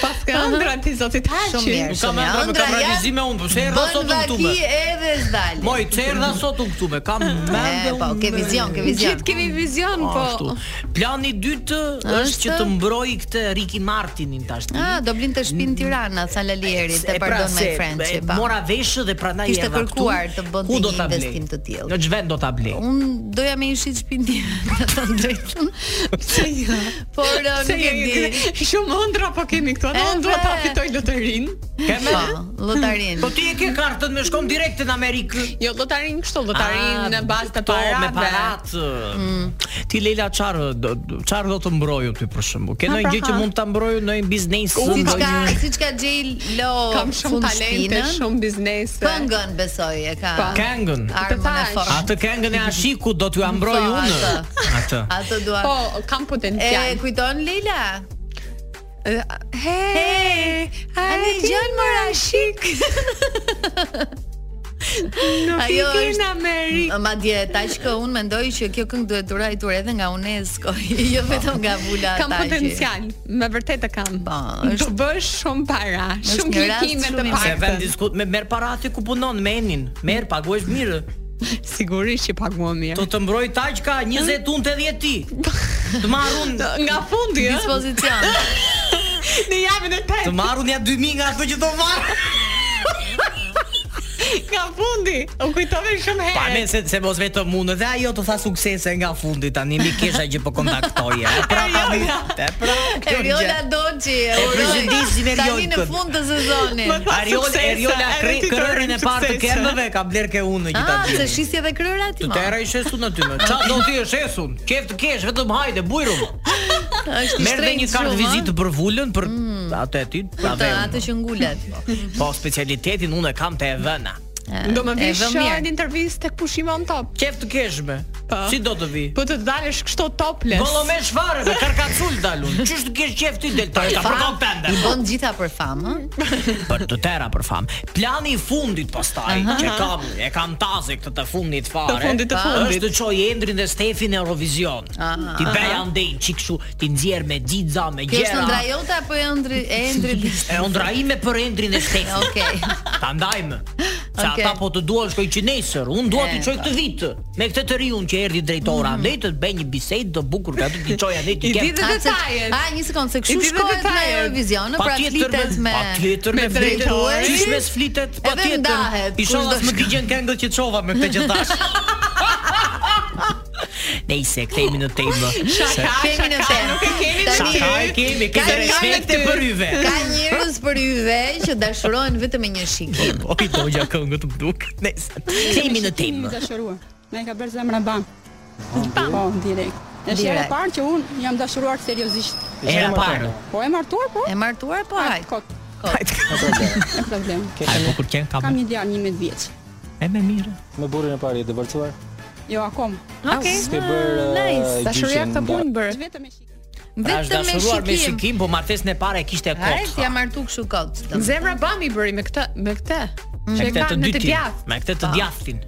[SPEAKER 8] Pas ka ëndra ti zotit Haqi.
[SPEAKER 7] Shumë mirë.
[SPEAKER 9] Nuk kam
[SPEAKER 7] shumë
[SPEAKER 9] ëndra, nuk kam
[SPEAKER 7] ëndra janë-
[SPEAKER 9] realizime unë, po se erdha
[SPEAKER 7] Bën
[SPEAKER 9] sot unë këtu. me.
[SPEAKER 7] vaki edhe zdal.
[SPEAKER 9] Moj, se erdha sot unë këtu, me kam mendë.
[SPEAKER 7] po,
[SPEAKER 9] unë
[SPEAKER 7] ke
[SPEAKER 9] me-
[SPEAKER 7] vizion, ke vizion.
[SPEAKER 8] Gjithë kemi vizion, po.
[SPEAKER 9] Ashtu. Plani i dytë është
[SPEAKER 7] Është?
[SPEAKER 9] që të mbroj këtë Ricky Martinin tash.
[SPEAKER 7] Ah, do blin të shtëpinë Tirana, sa Lalierit, te
[SPEAKER 9] E pra,
[SPEAKER 7] Pardon My
[SPEAKER 9] se,
[SPEAKER 7] Friends,
[SPEAKER 9] e,
[SPEAKER 7] që pa.
[SPEAKER 9] Mora veshë dhe pra prandaj
[SPEAKER 7] Kishte
[SPEAKER 9] erdha këtu.
[SPEAKER 7] kërkuar të bënte
[SPEAKER 9] Ku do
[SPEAKER 7] një
[SPEAKER 9] ta blej?
[SPEAKER 7] investim të tillë.
[SPEAKER 9] Në ç'vend do ta blej?
[SPEAKER 7] Un doja me ishit shtëpinë time, të drejtën. Pse jo? Por eh,
[SPEAKER 8] Se jo,
[SPEAKER 7] nuk e
[SPEAKER 8] jemi
[SPEAKER 7] di.
[SPEAKER 8] kre- Shumë ëndra po kemi këtu.
[SPEAKER 7] E,
[SPEAKER 8] Ana unë dua ta
[SPEAKER 7] be.
[SPEAKER 8] fitoj loterinë.
[SPEAKER 9] Kemë?
[SPEAKER 7] Po, lotarin.
[SPEAKER 9] Po ti e ke kartën, më shkon direkt në Amerikë.
[SPEAKER 8] Jo, lotarin kështu,
[SPEAKER 9] Ah,
[SPEAKER 8] lotarin në bazë të Mm.
[SPEAKER 9] këto
[SPEAKER 8] parave.
[SPEAKER 9] me parat. Ti Leila çfarë do- çfarë do të mbrojë ty për shembull? Ke
[SPEAKER 8] Ha,
[SPEAKER 9] ndonjë
[SPEAKER 8] pra,
[SPEAKER 9] gjë që
[SPEAKER 8] ha.
[SPEAKER 9] mund ta mbrojë në një biznes?
[SPEAKER 7] Si
[SPEAKER 9] ndonjë-
[SPEAKER 7] çka, si çka gjej lo
[SPEAKER 8] Kam shumë
[SPEAKER 7] Po, fund
[SPEAKER 8] talente,
[SPEAKER 7] shpinën.
[SPEAKER 8] shumë biznese.
[SPEAKER 7] Këngën besoj e ka.
[SPEAKER 8] Po.
[SPEAKER 9] Këngën.
[SPEAKER 7] Armën e
[SPEAKER 8] thash.
[SPEAKER 7] fortë.
[SPEAKER 9] Atë këngën e Ashiku do t'ju ambroj
[SPEAKER 7] Po,
[SPEAKER 9] unë.
[SPEAKER 7] atë.
[SPEAKER 9] Atë.
[SPEAKER 7] Ato dua.
[SPEAKER 8] Po, kam
[SPEAKER 7] E
[SPEAKER 8] potencial.
[SPEAKER 7] kujton Leila?
[SPEAKER 8] E, Hey,
[SPEAKER 7] A
[SPEAKER 8] ani
[SPEAKER 7] një gjën mëra shik
[SPEAKER 8] nuk i
[SPEAKER 7] ajo
[SPEAKER 8] ke
[SPEAKER 7] është- Oh,
[SPEAKER 8] në Amerikë.
[SPEAKER 7] Ma dje, taq që unë mendoj që kjo këngë duhet të ruajtur edhe nga UNESCO Jo vetëm nga vula
[SPEAKER 8] Kam
[SPEAKER 7] Taqi.
[SPEAKER 8] potencial, me vërtet e kam.
[SPEAKER 7] Po,
[SPEAKER 8] Do
[SPEAKER 7] është
[SPEAKER 8] bësh shumë para,
[SPEAKER 7] Është
[SPEAKER 8] shumë
[SPEAKER 7] një rast
[SPEAKER 8] klikime
[SPEAKER 7] shumë
[SPEAKER 8] të
[SPEAKER 7] i
[SPEAKER 9] Se vend
[SPEAKER 8] paktën.
[SPEAKER 9] diskut me merr para aty ku punon menin. Merr paguhesh mirë.
[SPEAKER 8] Sigurisht që paguam
[SPEAKER 9] Do
[SPEAKER 8] mirë.
[SPEAKER 9] të mbroj taq ka
[SPEAKER 8] Mm.
[SPEAKER 9] 20 unë 80 ti. Të marrun
[SPEAKER 8] Nga fundi, ë?
[SPEAKER 7] dispozicion
[SPEAKER 8] Në javën e
[SPEAKER 9] Të
[SPEAKER 8] tetë,
[SPEAKER 9] marrun ja 2000 nga ato që do marr.
[SPEAKER 8] nga fundi. U kujtove shumë
[SPEAKER 9] Pa ne
[SPEAKER 8] herë.
[SPEAKER 9] se se mos vetëm unë dhe ajo të tha suksese nga fundi tani mi kisha që po kontaktoje. E pra tani. E pra. kjo gjë.
[SPEAKER 7] Eriola Doçi e
[SPEAKER 9] E
[SPEAKER 7] uroj.
[SPEAKER 9] përshëndesim
[SPEAKER 7] Tani në
[SPEAKER 9] Eriolkën.
[SPEAKER 7] fund të sezonit
[SPEAKER 8] Më tha
[SPEAKER 9] Ariola
[SPEAKER 8] suksese,
[SPEAKER 9] Eriola
[SPEAKER 8] edhe
[SPEAKER 9] kre-
[SPEAKER 8] ti të
[SPEAKER 9] kërërin e
[SPEAKER 8] rrim
[SPEAKER 9] parë të
[SPEAKER 8] suksese.
[SPEAKER 9] kërnëve ka bler ke unë që ta
[SPEAKER 7] Ah,
[SPEAKER 9] gjeni.
[SPEAKER 7] se shisje dhe kryrë aty
[SPEAKER 9] Të
[SPEAKER 7] ma
[SPEAKER 9] tera i shesun aty më. Çfarë do ti e shesun? Qef të kesh vetëm hajde bujrum.
[SPEAKER 7] është i
[SPEAKER 9] Merr dhe një
[SPEAKER 7] shtrenjtë
[SPEAKER 9] kartë
[SPEAKER 7] shumë,
[SPEAKER 9] vizitë për vulën për atë e ty, ta
[SPEAKER 7] ë? ah, Të-
[SPEAKER 9] vëmë.
[SPEAKER 7] Atë që ngulet
[SPEAKER 9] Po specialitetin unë e kam të e vëna.
[SPEAKER 8] Do më
[SPEAKER 7] E
[SPEAKER 8] vish
[SPEAKER 7] vë
[SPEAKER 8] uh,
[SPEAKER 7] mirë.
[SPEAKER 8] në intervistë tek pushimi on top.
[SPEAKER 9] Qef të keshme.
[SPEAKER 8] Po.
[SPEAKER 9] Si do të vi?
[SPEAKER 8] Po të dalësh kështu topless.
[SPEAKER 9] Bollo me shfarë, me karkacul dalun. Qysh të kesh qef ti del tani ta
[SPEAKER 7] Fam,
[SPEAKER 9] përkon pende.
[SPEAKER 7] I bën gjitha për famë ë?
[SPEAKER 9] Për të tëra për fam. Plani i fundit pastaj që kam, e kam tazi këtë të fundit fare.
[SPEAKER 8] Të fundit, të
[SPEAKER 9] pa,
[SPEAKER 8] fundit. Ah.
[SPEAKER 9] Është të çoj Endrin dhe Stefin në Eurovision.
[SPEAKER 7] Aha.
[SPEAKER 9] Ti bëj andej çik kështu, ti nxjerr me xixa, me
[SPEAKER 7] Kjo është
[SPEAKER 9] gjera.
[SPEAKER 7] ndra jote apo e ndri e ndri
[SPEAKER 9] E ondraime për Endrin e Stefin.
[SPEAKER 7] Okej.
[SPEAKER 9] Ta ndajmë. Se
[SPEAKER 7] Okej.
[SPEAKER 9] ata po të duan shkoj që nesër, unë dua
[SPEAKER 7] E,
[SPEAKER 9] t'i çoj
[SPEAKER 8] po.
[SPEAKER 9] këtë vit. Me këtë të riun që erdhi drejtora, andej të bëj një bisedë të bukur, ka të t'i çoj andej
[SPEAKER 8] Mhm. I
[SPEAKER 9] t'i kem
[SPEAKER 8] di dhe
[SPEAKER 7] A, se-
[SPEAKER 8] detajet.
[SPEAKER 7] A, Ah, një sekond, se
[SPEAKER 8] I
[SPEAKER 7] kështu
[SPEAKER 8] di dhe
[SPEAKER 7] shkohet në
[SPEAKER 8] detajet.
[SPEAKER 7] Eurovision, pra flitet me
[SPEAKER 9] patjetër me
[SPEAKER 8] me
[SPEAKER 9] flitet.
[SPEAKER 8] drejtorin.
[SPEAKER 9] Qysh mes flitet patjetër.
[SPEAKER 7] ndahet,
[SPEAKER 9] Inshallah
[SPEAKER 7] kush do
[SPEAKER 9] s'më digjen këngët që çova me këtë që thash. Nejse, kthehemi në temë. Se-
[SPEAKER 8] Shaka,
[SPEAKER 7] Kemi në
[SPEAKER 8] shaka,
[SPEAKER 7] temë.
[SPEAKER 8] nuk e kemi në
[SPEAKER 7] Tani-
[SPEAKER 9] Shaka
[SPEAKER 8] ty.
[SPEAKER 9] e kemi,
[SPEAKER 7] Ka-
[SPEAKER 9] kemi
[SPEAKER 7] ka-
[SPEAKER 9] respekte
[SPEAKER 8] ka-
[SPEAKER 9] për yve.
[SPEAKER 7] Ka njerëz për yve që dashurojnë vetëm me një shikim.
[SPEAKER 9] O, i doja këngët të duk. Nejse, kthehemi në temë.
[SPEAKER 12] dashuruar. Na e ka bërë zemra ban. Po, direkt. Është
[SPEAKER 7] Direkt.
[SPEAKER 12] hera e parë që unë jam dashuruar seriozisht.
[SPEAKER 9] Era parë.
[SPEAKER 12] Po e martuar po?
[SPEAKER 7] E martuar po haj.
[SPEAKER 12] Kot, e problem.
[SPEAKER 9] Ai bukur qen kam.
[SPEAKER 12] Kam një djalë 11 vjeç.
[SPEAKER 9] E me mirë.
[SPEAKER 11] Me burrin e parë je divorcuar?
[SPEAKER 12] Jo akoma.
[SPEAKER 7] Okej.
[SPEAKER 11] S'ke bërë
[SPEAKER 7] Ah, Nice.
[SPEAKER 8] Dashuria këtë punë bërë.
[SPEAKER 12] Është vetëm me shikë.
[SPEAKER 9] Pra është
[SPEAKER 7] Vetëm me
[SPEAKER 9] dashuruar me
[SPEAKER 7] shikim.
[SPEAKER 9] shikim, po martesën e parë e kishte e
[SPEAKER 7] Ai
[SPEAKER 9] kot.
[SPEAKER 7] ja martu kështu kot. domethënë.
[SPEAKER 8] Zemra bami bëri me këtë, me këtë.
[SPEAKER 9] Me
[SPEAKER 8] Që e
[SPEAKER 9] këtë
[SPEAKER 8] ka
[SPEAKER 9] të
[SPEAKER 8] në të
[SPEAKER 9] dytin,
[SPEAKER 8] djathtë.
[SPEAKER 9] me këtë të djathtin.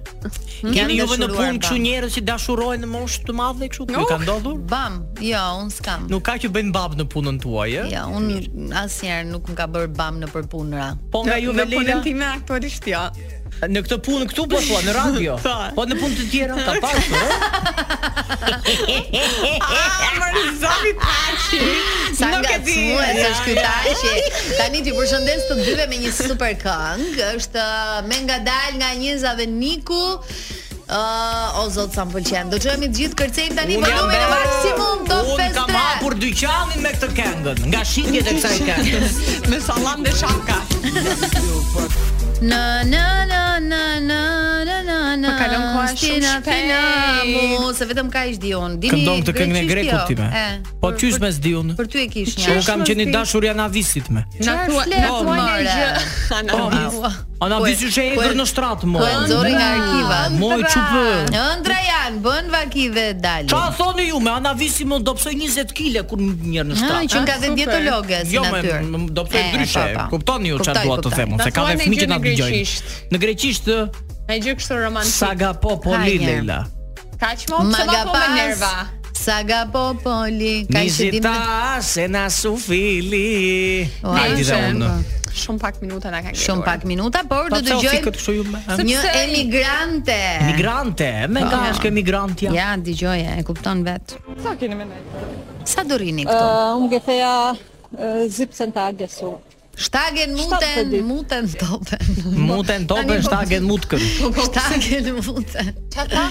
[SPEAKER 7] Jam
[SPEAKER 9] Keni juve në
[SPEAKER 7] dashuruar,
[SPEAKER 9] punë kështu
[SPEAKER 7] bam.
[SPEAKER 9] njerëz që dashurojnë në moshë të madhe kështu? Ju ka
[SPEAKER 8] Oh.
[SPEAKER 9] ndodhur?
[SPEAKER 7] Bam, jo, un s'kam.
[SPEAKER 9] Nuk ka që bëjnë babë në punën tuaj, eh? ë?
[SPEAKER 7] Jo, un asnjëherë nuk më ka bërë bam në përpunëra.
[SPEAKER 9] Po nga
[SPEAKER 8] Në-
[SPEAKER 9] juve
[SPEAKER 8] në
[SPEAKER 9] Leila,
[SPEAKER 8] punën time aktualisht jo.
[SPEAKER 9] në këtë punë këtu po thua në radio.
[SPEAKER 8] Po.
[SPEAKER 9] po në punë të tjera ka pasur, eh? ë?
[SPEAKER 8] Amër zoti Paçi.
[SPEAKER 7] Sa
[SPEAKER 8] Nuk
[SPEAKER 7] nga
[SPEAKER 8] e di.
[SPEAKER 7] cmue se
[SPEAKER 8] Ja,
[SPEAKER 7] është ky taqi. Tani ti përshëndes të dyve me një super këngë. Është uh, me ngadal nga Njeza dhe Niku. Uh, o zot sa më pëlqen. Do çojmë të gjithë kërcejmë tani
[SPEAKER 9] Unë jam
[SPEAKER 7] volumin e
[SPEAKER 9] bërë-
[SPEAKER 7] po maksimum top 50.
[SPEAKER 9] Unë kam hapur dyqanin me këtë këngën, nga shitjet e kësaj këngës.
[SPEAKER 8] Me sallam dhe shaka.
[SPEAKER 7] Na na na na na na na na
[SPEAKER 8] Po kalon koha shumë
[SPEAKER 7] Stina,
[SPEAKER 8] shpejt.
[SPEAKER 7] Stina, mu, se vetëm kaq di unë. Dini
[SPEAKER 9] Këndon këtë këngën e
[SPEAKER 7] greqisht
[SPEAKER 9] grekut
[SPEAKER 7] jo?
[SPEAKER 9] time.
[SPEAKER 7] E,
[SPEAKER 9] Po
[SPEAKER 7] për-
[SPEAKER 9] qysh
[SPEAKER 7] për-
[SPEAKER 9] mes di unë.
[SPEAKER 7] Për ty e kish një.
[SPEAKER 9] Unë kam qenë i dashur janë avisit me.
[SPEAKER 7] Na thua, na thua një gjë.
[SPEAKER 9] Ana visi që e
[SPEAKER 7] po e-
[SPEAKER 9] egër në shtratë mo.
[SPEAKER 7] Po e nxorri nga arkiva.
[SPEAKER 9] Moj çupë.
[SPEAKER 7] Ëndra janë, bën vaki dhe dalin.
[SPEAKER 9] Qa thoni ju me Ana Visi më dopsoj 20 kg kur njerë në
[SPEAKER 7] Ah,
[SPEAKER 9] shtrat.
[SPEAKER 7] që nga
[SPEAKER 9] Ah,
[SPEAKER 7] dhe
[SPEAKER 9] super.
[SPEAKER 7] dietologe si
[SPEAKER 9] jo,
[SPEAKER 7] natyrë.
[SPEAKER 9] Jo, më dopsoj
[SPEAKER 7] E,
[SPEAKER 9] ndryshe.
[SPEAKER 7] po, po.
[SPEAKER 9] Kuptoni ju çfarë
[SPEAKER 7] Kuptoj,
[SPEAKER 9] dua të
[SPEAKER 7] kuptoj.
[SPEAKER 9] them, unë,
[SPEAKER 7] Na
[SPEAKER 9] se ka
[SPEAKER 7] thuaj
[SPEAKER 9] dhe
[SPEAKER 7] një
[SPEAKER 9] fëmijë
[SPEAKER 7] gjë
[SPEAKER 9] që na
[SPEAKER 7] në
[SPEAKER 9] dëgjojnë.
[SPEAKER 7] greqisht.
[SPEAKER 9] Në greqisht ë,
[SPEAKER 8] Ai gjë kështu romantik.
[SPEAKER 9] saga po po li
[SPEAKER 7] Hajde.
[SPEAKER 9] Leila.
[SPEAKER 8] Kaq më se po me nerva.
[SPEAKER 7] Saga popoli, ka që dim.
[SPEAKER 9] Nizita se na sufili.
[SPEAKER 7] Ua,
[SPEAKER 9] Hajde dhe
[SPEAKER 7] që-
[SPEAKER 9] unë.
[SPEAKER 8] Shumë pak minuta na kanë.
[SPEAKER 7] Shumë pak minuta, por do
[SPEAKER 9] pse o
[SPEAKER 7] dëgjojmë
[SPEAKER 9] fikët kështu ju me? ha?
[SPEAKER 7] një
[SPEAKER 8] Sepse-
[SPEAKER 7] emigrante.
[SPEAKER 9] Migrante, me nga
[SPEAKER 7] Po.
[SPEAKER 9] është ke migrantja.
[SPEAKER 7] Ja, dëgjoje, e kupton vet.
[SPEAKER 12] Sa keni me nejtë?
[SPEAKER 7] Sa do rini këtu?
[SPEAKER 3] Äh,
[SPEAKER 12] Uh, unë gëtheja uh, zip centagje su.
[SPEAKER 7] Shtagen
[SPEAKER 12] Shtatë
[SPEAKER 7] muten,
[SPEAKER 12] ditë.
[SPEAKER 7] muten topen.
[SPEAKER 9] Muten topen,
[SPEAKER 7] Tani po-
[SPEAKER 9] shtagen mutkën.
[SPEAKER 7] Shtagen muten. Çfarë?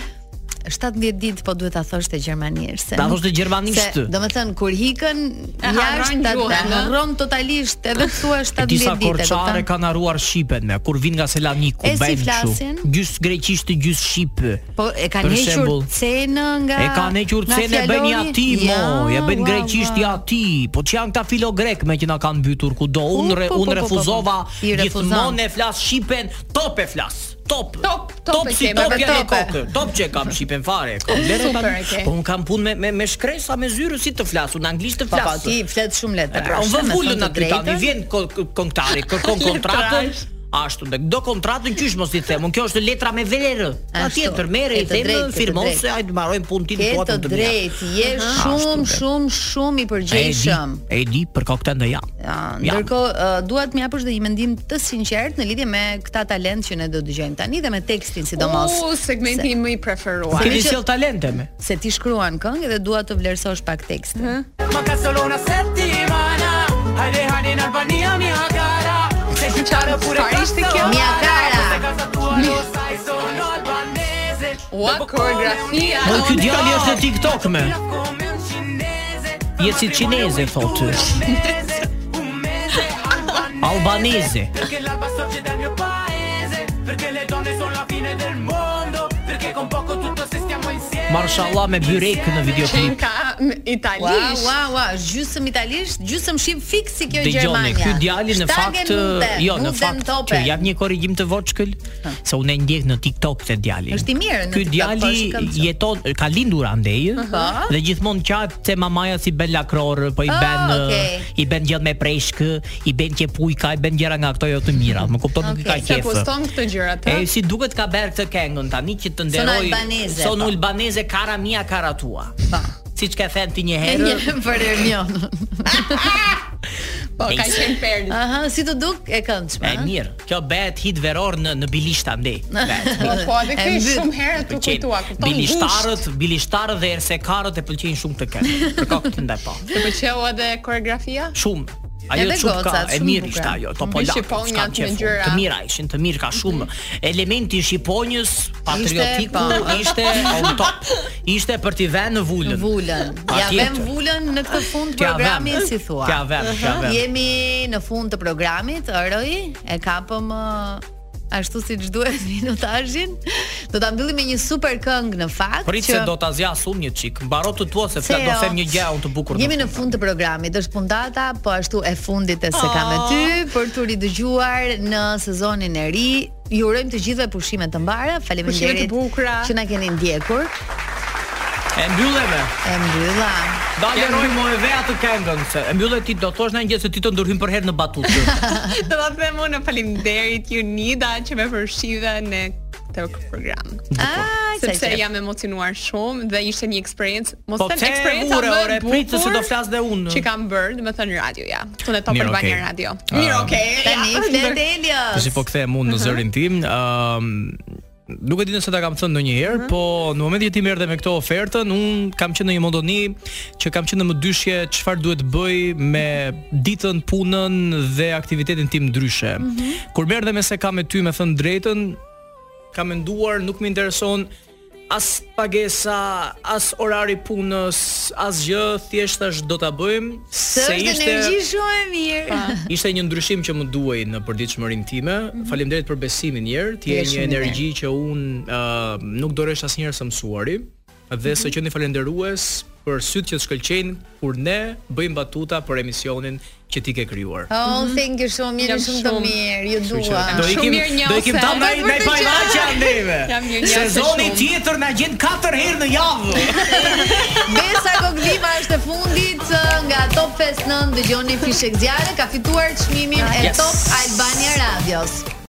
[SPEAKER 7] 17 ditë po duhet ta thosh te gjermanisht. se
[SPEAKER 9] Ta
[SPEAKER 7] nuk-
[SPEAKER 9] thosh te gjermanisht.
[SPEAKER 7] se, Domethënë kur hikën
[SPEAKER 8] E harron
[SPEAKER 7] jashtë ta
[SPEAKER 8] gjuhën,
[SPEAKER 7] ta
[SPEAKER 8] ëh?
[SPEAKER 7] harron totalisht edhe thua 17 ditë.
[SPEAKER 9] Disa
[SPEAKER 7] e
[SPEAKER 9] korçare
[SPEAKER 7] kupton?
[SPEAKER 9] kanë haruar shipen me kur vin nga Selaniku,
[SPEAKER 7] E si
[SPEAKER 9] bëjnë
[SPEAKER 7] flasin?
[SPEAKER 9] kështu. Gjys greqisht, gjys shqip.
[SPEAKER 7] Po e kanë
[SPEAKER 9] Për
[SPEAKER 7] hequr
[SPEAKER 9] shembull,
[SPEAKER 7] cenë nga
[SPEAKER 9] E kanë hequr
[SPEAKER 7] nga
[SPEAKER 9] cene bëjnë ja
[SPEAKER 7] fjalori?
[SPEAKER 9] ti mo, ja bëjnë
[SPEAKER 7] ua,
[SPEAKER 9] greqisht
[SPEAKER 7] ua.
[SPEAKER 9] ja ti. Po që janë këta filo grek me që na kanë mbytur kudo. Unë re,
[SPEAKER 7] po, po, po,
[SPEAKER 9] unë
[SPEAKER 7] po, po.
[SPEAKER 9] refuzova
[SPEAKER 7] I refuzon.
[SPEAKER 9] gjithmonë e flas shipen, top e flas. Top.
[SPEAKER 8] Top, top
[SPEAKER 9] Top
[SPEAKER 8] e
[SPEAKER 9] si
[SPEAKER 8] kemi,
[SPEAKER 9] top
[SPEAKER 8] me
[SPEAKER 9] janë e
[SPEAKER 8] tope.
[SPEAKER 9] kokën. Top që e kam shipen fare. e Kam lere
[SPEAKER 8] Super
[SPEAKER 9] tani.
[SPEAKER 8] e ke.
[SPEAKER 9] Po un kam punë me me, me shkresa me zyrë si të flas, unë anglisht të
[SPEAKER 7] Po, po,
[SPEAKER 9] flas.
[SPEAKER 7] ti flet shumë lehtë.
[SPEAKER 9] Pra, unë vë fullën aty tani, vjen ko- ko- kontrari, kërkon kontratën. Ashtu, dhe do kontratën qysh mos i them, unë kjo është letra me verë.
[SPEAKER 7] Ashtu,
[SPEAKER 9] Patjetër merre
[SPEAKER 7] e
[SPEAKER 9] i
[SPEAKER 7] të drejtë, e
[SPEAKER 9] them,
[SPEAKER 7] të
[SPEAKER 9] firmon
[SPEAKER 7] drejtë.
[SPEAKER 9] se hajde mbarojmë punën tim
[SPEAKER 7] Ke
[SPEAKER 9] po
[SPEAKER 7] të
[SPEAKER 9] atë të mia.
[SPEAKER 7] drejtë, je
[SPEAKER 9] Ashtu,
[SPEAKER 7] shumë
[SPEAKER 9] dhe.
[SPEAKER 7] shumë shumë i
[SPEAKER 9] E di,
[SPEAKER 7] përgjegjshëm.
[SPEAKER 9] E di për kokte ndonjë.
[SPEAKER 7] Ja,
[SPEAKER 9] Jam.
[SPEAKER 7] ndërkohë uh, dua të më japësh dhe një mendim të sinqert në lidhje me këta talent që ne do dëgjojmë tani dhe me tekstin sidomos.
[SPEAKER 8] U, segmenti im më i preferuar.
[SPEAKER 9] Keni sjell talente me.
[SPEAKER 7] Se ti shkruan këngë dhe dua të vlerësosh pak tekstin.
[SPEAKER 1] manca solo una settimana Hare hare in Albania mia cara Sei citare pure
[SPEAKER 8] Fare sti
[SPEAKER 1] Cassaora.
[SPEAKER 7] Mia cara.
[SPEAKER 1] Questa è casa tua lo sai sono albanese
[SPEAKER 8] Ua,
[SPEAKER 1] Dopo come
[SPEAKER 8] koreografia.
[SPEAKER 9] Po
[SPEAKER 1] un-
[SPEAKER 9] ky djali është në TikTok me.
[SPEAKER 1] Come un cinese
[SPEAKER 9] Je si cinese thotë.
[SPEAKER 1] Cinese Un mese albanese
[SPEAKER 9] Albanese.
[SPEAKER 1] Perché l'alba sorge dal mio paese Perché le donne sono la fine del mondo Perché con poco tutto se stiamo insieme
[SPEAKER 9] Mashallah me byrek në videoklip.
[SPEAKER 8] Çenka
[SPEAKER 7] Ua,
[SPEAKER 8] italisht.
[SPEAKER 7] ua, ua, është gjysmë italisht, gjysmë shqip fiksi kjo e
[SPEAKER 9] Dëgjoni,
[SPEAKER 7] Gjermania.
[SPEAKER 9] ky djali në fakt jo, në fakt që jap një korrigjim të voçkël, se unë e ndjek në TikTok këtë djalin.
[SPEAKER 7] Është i mirë në
[SPEAKER 9] Ky
[SPEAKER 7] TikTok, po,
[SPEAKER 9] djali
[SPEAKER 7] shikon që.
[SPEAKER 9] jeton ka lindur andej
[SPEAKER 7] Aha.
[SPEAKER 9] dhe gjithmonë qahet se mamaja si bën lakror, po i
[SPEAKER 7] Ah,
[SPEAKER 9] bën eh,
[SPEAKER 7] okay.
[SPEAKER 9] i bën gjallë me preshk, i bën që pujka, i bën gjëra nga ato jo të mira. Më kupton nuk i ka
[SPEAKER 7] Okay,
[SPEAKER 8] Se
[SPEAKER 9] qef.
[SPEAKER 8] poston këto gjëra të.
[SPEAKER 9] E si duket ka bërë këtë këngën tani që të nderoj.
[SPEAKER 7] albaneze,
[SPEAKER 9] Son
[SPEAKER 7] po.
[SPEAKER 9] albaneze cara mia cara tua.
[SPEAKER 7] Po.
[SPEAKER 9] Siç ka thënë ti një
[SPEAKER 7] E
[SPEAKER 9] herë.
[SPEAKER 7] një për Ermionën.
[SPEAKER 8] Po ka
[SPEAKER 9] Nice.
[SPEAKER 8] qenë perdi.
[SPEAKER 7] Aha, si të duk e këndshme.
[SPEAKER 9] E mirë, kjo bëhet hit veror në në bilisht andej.
[SPEAKER 8] Po po, edhe
[SPEAKER 7] E
[SPEAKER 8] kjo
[SPEAKER 7] mbyt.
[SPEAKER 8] shumë herë
[SPEAKER 9] Të
[SPEAKER 8] tu kujtua, kupton? gusht.
[SPEAKER 9] bilishtarët, bilishtarët dhe ersekarët e pëlqejnë shumë të këngë. Për ka këtë ndaj pa.
[SPEAKER 8] Të pëlqeu edhe koreografia?
[SPEAKER 9] Shumë. Ajo
[SPEAKER 7] Edhe
[SPEAKER 9] shumë ka,
[SPEAKER 7] gocat,
[SPEAKER 9] e
[SPEAKER 7] shumë
[SPEAKER 9] mirë
[SPEAKER 7] bukur.
[SPEAKER 9] ishte ajo, to
[SPEAKER 8] Mhm.
[SPEAKER 9] po lak,
[SPEAKER 8] Shqiponjat
[SPEAKER 9] s'kam
[SPEAKER 8] me
[SPEAKER 9] qef unë.
[SPEAKER 8] gjëra.
[SPEAKER 9] Të mira ishin, të mirë ka shumë. Elementi i Shqiponjës, patriotiku,
[SPEAKER 7] po.
[SPEAKER 9] ishte on top. Ishte për t'i venë në vulën.
[SPEAKER 7] Vulën. Ja
[SPEAKER 9] Patjetër.
[SPEAKER 7] vem Vulën në këtë fund
[SPEAKER 9] T'ja vem.
[SPEAKER 7] programi si thua.
[SPEAKER 9] T'ja vem, t'ja vem.
[SPEAKER 7] Jemi në fund të programit, Roi, e kapëm ë, ashtu siç duhet minutazhin. Do ta mbyllim me një super këngë në fakt
[SPEAKER 9] Prit se do ta zjas unë një çik. Mbaro të tua se fla do
[SPEAKER 7] jo.
[SPEAKER 9] them një gjë unë të bukur.
[SPEAKER 7] Jemi në fund të programit, është puntata, po ashtu e fundit e se kam me ty për të ridëgjuar në sezonin e ri. Ju urojmë të gjithëve pushime të mbara.
[SPEAKER 8] Pushime të
[SPEAKER 7] Faleminderit
[SPEAKER 8] bukura.
[SPEAKER 7] që na keni ndjekur.
[SPEAKER 9] E mbylleme.
[SPEAKER 7] E mbylla.
[SPEAKER 9] Dalë roj më e vea të këngën se e mbyllet ti do thosh në një gjë se ti të ndërhym për herë në batutë.
[SPEAKER 8] Po, Do ta them unë faleminderit Unida që më përfshive në këtë program.
[SPEAKER 7] Ai, sa
[SPEAKER 8] Sepse
[SPEAKER 7] qep.
[SPEAKER 8] jam emocionuar shumë dhe ishte një eksperiencë, mos
[SPEAKER 9] Po
[SPEAKER 8] them
[SPEAKER 9] pse
[SPEAKER 8] eksperjenca
[SPEAKER 9] vure,
[SPEAKER 8] më e
[SPEAKER 9] ore, prit se se do
[SPEAKER 8] bukur
[SPEAKER 9] flas dhe unë.
[SPEAKER 8] Që kam bërë, do të thënë radio, ja. Tonë Top
[SPEAKER 9] Mirë,
[SPEAKER 8] Albania
[SPEAKER 9] okay.
[SPEAKER 8] Radio.
[SPEAKER 9] Ah.
[SPEAKER 8] Mirë, okay.
[SPEAKER 7] Tani
[SPEAKER 8] ja.
[SPEAKER 7] flet Elios.
[SPEAKER 9] Tash po kthehem unë në
[SPEAKER 7] Mhm.
[SPEAKER 9] zërin tim. Ëm Nuk e di nëse ta kam thënë ndonjëherë,
[SPEAKER 7] Mhm.
[SPEAKER 9] po në momentin që ti më erdhe me këtë ofertën, un kam qenë në një mondoni që kam qenë në më dyshje çfarë duhet bëj me ditën, punën dhe aktivitetin tim ndryshe.
[SPEAKER 7] Mhm.
[SPEAKER 9] Kur më erdhe me se kam me ty me thënë drejtën, kam menduar, nuk më intereson as pagesa, as orari punës, as gjë, thjesht tash do ta bëjmë
[SPEAKER 7] Se është energji shumë e mirë.
[SPEAKER 9] Ishte një ndryshim që më duhej në përditshmërinë time.
[SPEAKER 7] Mhm.
[SPEAKER 9] Faleminderit për besimin një herë. Ti
[SPEAKER 7] Je
[SPEAKER 9] je
[SPEAKER 7] shumë
[SPEAKER 9] një
[SPEAKER 7] i mirë.
[SPEAKER 9] energji që un uh, nuk doresh asnjëherë së mësuari dhe së qenë falënderues për sytë që të shkëlqejnë kur ne bëjmë batuta për emisionin që ti ke krijuar.
[SPEAKER 7] Oh, thank you shumë mirë,
[SPEAKER 8] Jam
[SPEAKER 7] shumë të
[SPEAKER 8] shumë-
[SPEAKER 7] mirë. Ju
[SPEAKER 9] Kështu
[SPEAKER 7] dua.
[SPEAKER 9] që do ikim- Shumë mirë do ikim njose. tam ndaj- ndaj pajvaqe andeve. Jam mirë njose Sezoni shumë. tjetër na gjen 4 herë në javë.
[SPEAKER 7] Besa Kokviva është e fundit eh, nga Top 59 dëgjoni fishek zjarre ka fituar çmimin e
[SPEAKER 9] Yes.
[SPEAKER 7] Top Albania Radios.